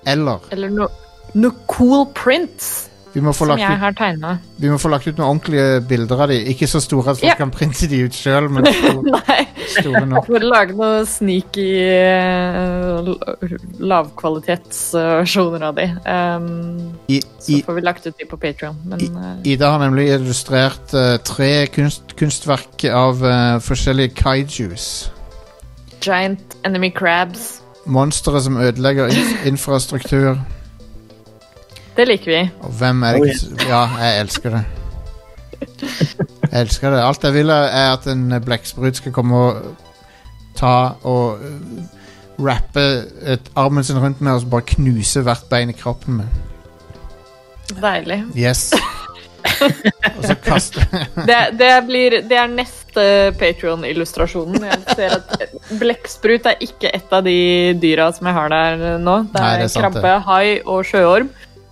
Speaker 1: eller
Speaker 3: Eller noe no cool prints
Speaker 1: vi må, få
Speaker 3: som
Speaker 1: lagt
Speaker 3: jeg
Speaker 1: ut,
Speaker 3: har tegna.
Speaker 1: vi må få lagt ut noen ordentlige bilder av de Ikke så store at folk
Speaker 3: Ja.
Speaker 1: kan printe de ut sjøl, men store,
Speaker 3: Nei.
Speaker 1: store nok.
Speaker 3: For å lage noe sneaky uh, lavkvalitetsversjoner av de. Um,
Speaker 1: I,
Speaker 3: så
Speaker 1: i,
Speaker 3: får vi lagt ut de på Patreon Men eh,
Speaker 1: Ida har nemlig illustrert eh, tre kunst, kunstverk av eh, forskjellige kaijus.
Speaker 3: Giant Enemy Crabs,
Speaker 1: Monstre som ødelegger in infrastruktur.
Speaker 3: det liker vi.
Speaker 1: Og hvem er det
Speaker 2: Oh,
Speaker 1: ikke Ja, jeg elsker det. Jeg elsker det. Alt jeg vil, er at en eh, blekksprut skal komme og ta og eh, rappe et, armen sin rundt meg og så bare knuse hvert bein i kroppen med.
Speaker 3: Deilig.
Speaker 1: Yes. og så kaste
Speaker 3: Det, det, blir, det er neste Patreon-illustrasjonen. Jeg ser at Blekksprut er ikke et av de dyra som jeg har der nå. Det
Speaker 1: Nei,
Speaker 3: er,
Speaker 1: det er sant, det.
Speaker 3: krabbe, hai og sjøorm.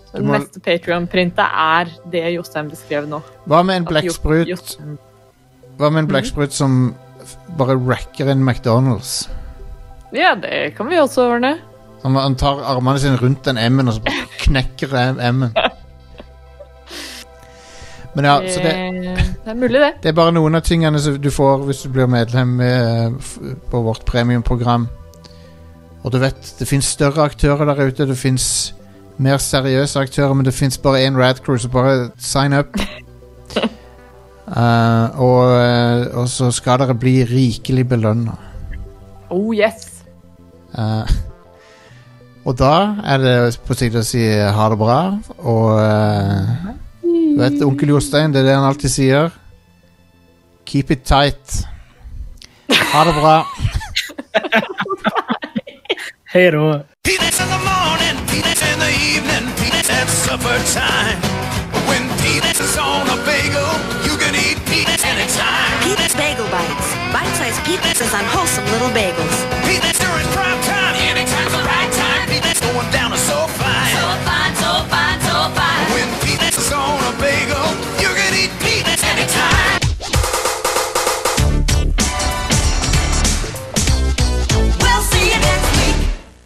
Speaker 3: Så
Speaker 1: Du må-
Speaker 3: Neste Patreon-printet er det Jostein beskrev nå.
Speaker 1: Hva med en
Speaker 3: At Jo-
Speaker 1: blekksprut
Speaker 3: Jostein-
Speaker 1: Hva med en blekksprut som f- bare wrecker en McDonald's?
Speaker 3: Ja, det kan vi også ordne.
Speaker 1: Han, han tar armene sine rundt den M-en og så bare knekker em- M-en. Men ja, så det,
Speaker 3: det er mulig, det.
Speaker 1: det er bare noen av tingene som du får hvis du blir medlem eh, f- på vårt premiumprogram. Og du vet, det fins større aktører der ute. Det fins mer seriøse aktører, men det fins bare én Radcrew, så bare sign up. Eh, og, eh, og så skal dere bli rikelig belønna.
Speaker 3: Oh yes!
Speaker 1: Eh, og da er det på tide å si eh, ha det bra, og eh, du vet onkel Jostein, det er det han alltid sier. Keep it tight. Ha det bra.
Speaker 2: Hei da.
Speaker 6: Peanuts in the morning, peanuts in the evening, peanuts. at supper time. But when peanuts is on a bagel, you can eat peanuts anytime.
Speaker 7: Peanuts Bagel Bites. Bite-sized pizzas on wholesome little bagels.
Speaker 6: Peanuts during prime time. Anytime's the right time. Peanuts going down